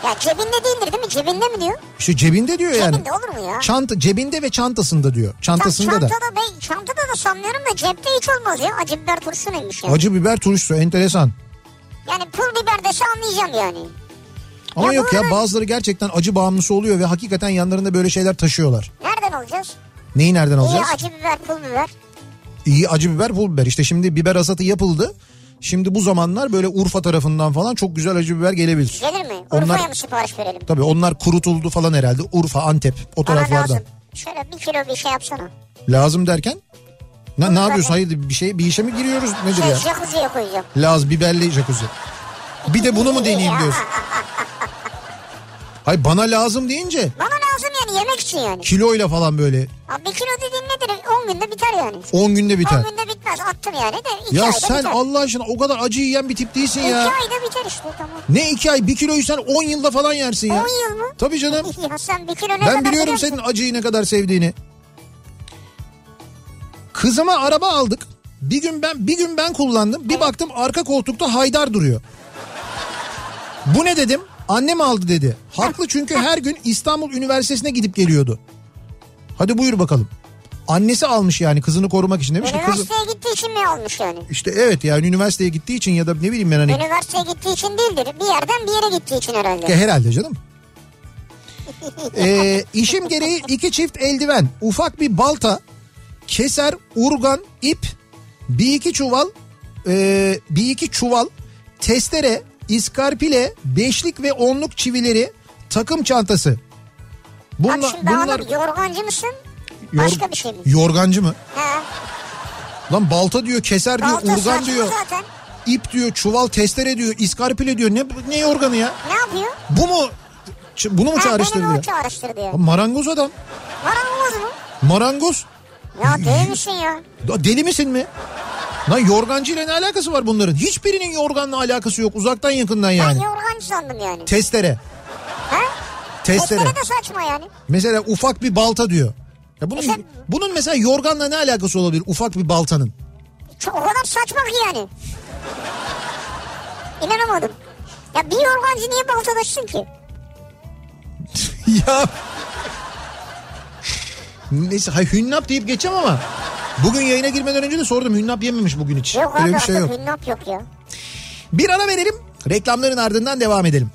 Ya cebinde değildir değil mi? Cebinde mi diyor? İşte cebinde diyor yani. Cebinde olur mu ya? Çanta cebinde ve çantasında diyor. Tam Çantasında da. çantada ben çantada da sanmıyorum da cepte hiç olmaz ya. Acı biber turşu neymiş ya? Acı biber turşusu enteresan. Yani pul biber dese anlayacağım yani. Ama Ya yok bu ya arada- bazıları gerçekten acı bağımlısı oluyor ve hakikaten yanlarında böyle şeyler taşıyorlar. Nereden alacağız? Neyi nereden İyi alacağız? acı biber, pul biber. İyi acı biber pul biber. İşte şimdi biber hasatı yapıldı. Şimdi bu zamanlar böyle Urfa tarafından falan çok güzel acı biber gelebilir. Gelir mi? Onlar- Urfa'ya mı sipariş verelim? Tabii onlar kurutuldu falan herhalde. Urfa, Antep o Bana taraflardan. lazım. Lazım. Şöyle bir kilo bir şey yapsana. derken? Ne, ne yapıyorsun? Hayır bir şey bir işe mi giriyoruz? Nedir Şey, ya? jacuzziye koyacağım. Laz biberli jacuzzi. Bir de bunu mu deneyeyim diyorsun? Hayır bana lazım deyince Bana lazım yani yemek için yani. kiloyla falan böyle Abi bir kilo dediğin nedir? 10 günde biter yani. 10 günde 10 biter. günde bitmez. Attım yani de 2 Ya ayda sen biter. Allah aşkına o kadar acı yiyen bir tip değilsin 2 ya. ayda biter işte tamam. Ne 2 ay 1 kiloyu sen 10 yılda falan yersin ya. 10 yıl mı? Tabii canım. Ya sen bir kilo ne kadar Ben biliyorum biliyor senin musun? acıyı ne kadar sevdiğini. Kızıma araba aldık. Bir gün ben bir gün ben kullandım. Bir baktım arka koltukta Haydar duruyor. Bu ne dedim? Annem aldı dedi. Haklı çünkü her gün İstanbul Üniversitesi'ne gidip geliyordu. Hadi buyur bakalım. Annesi almış yani kızını korumak için demiş ki kızı Üniversiteye gittiği için mi olmuş yani? işte evet yani üniversiteye gittiği için ya da ne bileyim ben hani Üniversiteye gittiği için değildir. Bir yerden bir yere gittiği için herhalde. Ya herhalde canım. Ee, işim gereği iki çift eldiven, ufak bir balta, keser, urgan, ip, bir iki çuval, ee, bir iki çuval, testere, iskarpile, beşlik ve onluk çivileri, takım çantası. Bunla- Abi şimdi bunlar... yorgancı mısın? Yor- Başka bir şey mi? Yorgancı mı? He. Lan balta diyor, keser diyor, Balta urgan saçma diyor, zaten. ip diyor, çuval, testere diyor, iskarpile diyor. Ne, ne yorganı ya? Ne yapıyor? Bu mu? Ç- Bunu mu Ha, çağrıştırdı? Beni ya? o çağrıştırdı ya. Ya Marangoz adam. Marangoz mu? Marangoz. Ya değil misin ya? Da- Deli misin mi? Lan yorgancı ile ne alakası var bunların? Hiçbirinin yorganla alakası yok. Uzaktan yakından yani. Ben yorgancı sandım yani. Testere. He? Testere. Testere de saçma yani. Mesela ufak bir balta diyor. Ya bunun, Efendim? bunun mesela yorganla ne alakası olabilir ufak bir baltanın? Çok, o kadar saçma ki yani. İnanamadım. Ya bir yorgancı niye baltalaşsın ki? ya. Neyse hayır, hünnap deyip geçeceğim ama. Bugün yayına girmeden önce de sordum. Hünnap yememiş bugün hiç. Yok Öyle abi bir şey yok. artık hünnap yok ya. Bir ara verelim. Reklamların ardından devam edelim.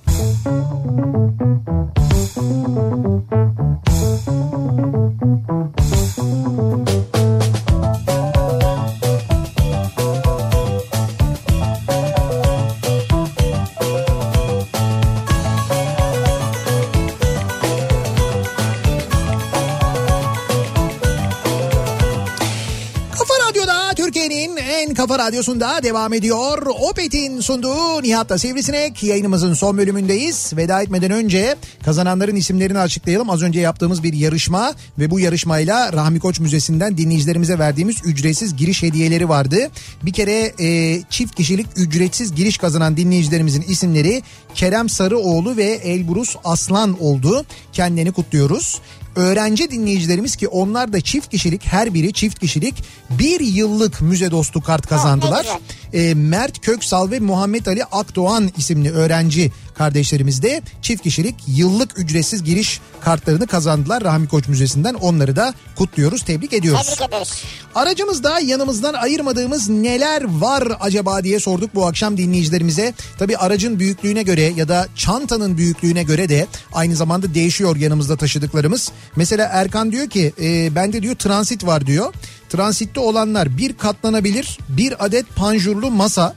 Kafa Radyo'da Türkiye'nin en kafa radyosunda devam ediyor. Opet'in sunduğu Nihat'la Sivrisinek yayınımızın son bölümündeyiz. Veda etmeden önce kazananların isimlerini açıklayalım. Az önce yaptığımız bir yarışma ve bu yarışmayla Rahmi Koç Müzesi'nden dinleyicilerimize verdiğimiz ücretsiz giriş hediyeleri vardı. Bir kere e, çift kişilik ücretsiz giriş kazanan dinleyicilerimizin isimleri Kerem Sarıoğlu ve Elburuz Aslan oldu. Kendilerini kutluyoruz öğrenci dinleyicilerimiz ki onlar da çift kişilik her biri çift kişilik bir yıllık müze dostu kart kazandılar. Oh, E, Mert Köksal ve Muhammed Ali Akdoğan isimli öğrenci kardeşlerimiz de çift kişilik yıllık ücretsiz giriş kartlarını kazandılar Rahmi Koç Müzesi'nden. Onları da kutluyoruz, tebrik ediyoruz. Tebrik ederiz. Aracımızda yanımızdan ayırmadığımız neler var acaba diye sorduk bu akşam dinleyicilerimize. Tabi aracın büyüklüğüne göre ya da çantanın büyüklüğüne göre de aynı zamanda değişiyor yanımızda taşıdıklarımız. Mesela Erkan diyor ki e, bende diyor transit var diyor. Transitte olanlar bir katlanabilir bir adet panjurlu masa,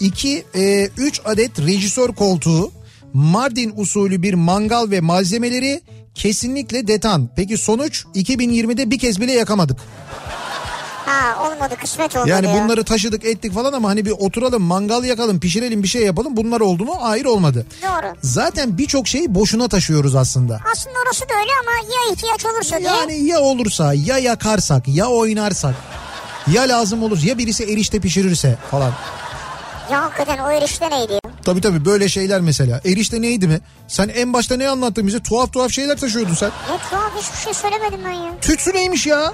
iki e, üç adet rejisör koltuğu, Mardin usulü bir mangal ve malzemeleri kesinlikle detan. Peki sonuç 2020'de bir kez bile yakamadık. Ha olmadı kısmet olmadı Yani ya. bunları taşıdık ettik falan ama hani bir oturalım mangal yakalım pişirelim bir şey yapalım bunlar oldu mu? Hayır olmadı. Doğru. Zaten birçok şeyi boşuna taşıyoruz aslında. Aslında orası da öyle ama ya ihtiyaç olursa diye. Yani ya olursa ya yakarsak ya oynarsak ya lazım olur ya birisi erişte pişirirse falan. Ya hakikaten o erişte neydi ya? Tabii tabii böyle şeyler mesela. Erişte neydi mi? Sen en başta ne anlattın bize? Tuhaf tuhaf şeyler taşıyordun sen. Ne tuhaf hiçbir şey söylemedim ben ya. Tütsü neymiş ya?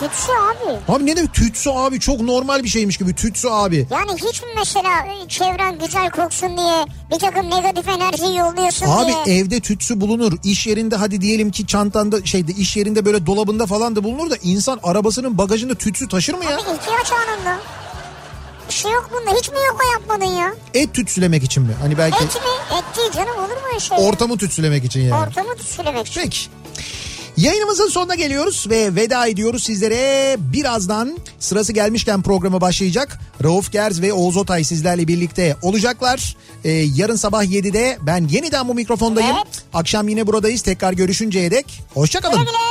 Kötüsü abi. Abi ne demek tütsü abi çok normal bir şeymiş gibi tütsü abi. Yani hiç mi mesela e, çevren güzel koksun diye bir takım negatif enerji yolluyorsun Abi diye. evde tütsü bulunur. İş yerinde hadi diyelim ki çantanda şeyde iş yerinde böyle dolabında falan da bulunur da insan arabasının bagajında tütsü taşır mı ya? Abi E, ihtiyaç anında. Bir şey yok bunda. Hiç mi yok o yapmadın ya? Et tütsülemek için mi? Hani belki Et mi? Et değil canım olur mu öyle şey? ya? ortamı tütsülemek için yani. Ortamı düşürmek için. Peki. Yayınımızın sonuna geliyoruz ve veda ediyoruz sizlere. Birazdan sırası gelmişken programa başlayacak. Rauf Gerz ve Oğuz Otay sizlerle birlikte olacaklar. Ee, yarın sabah 7'de ben yeniden bu mikrofondayım. Evet. Akşam yine buradayız. Tekrar görüşünceye dek. Hoşçakalın. Güle güle.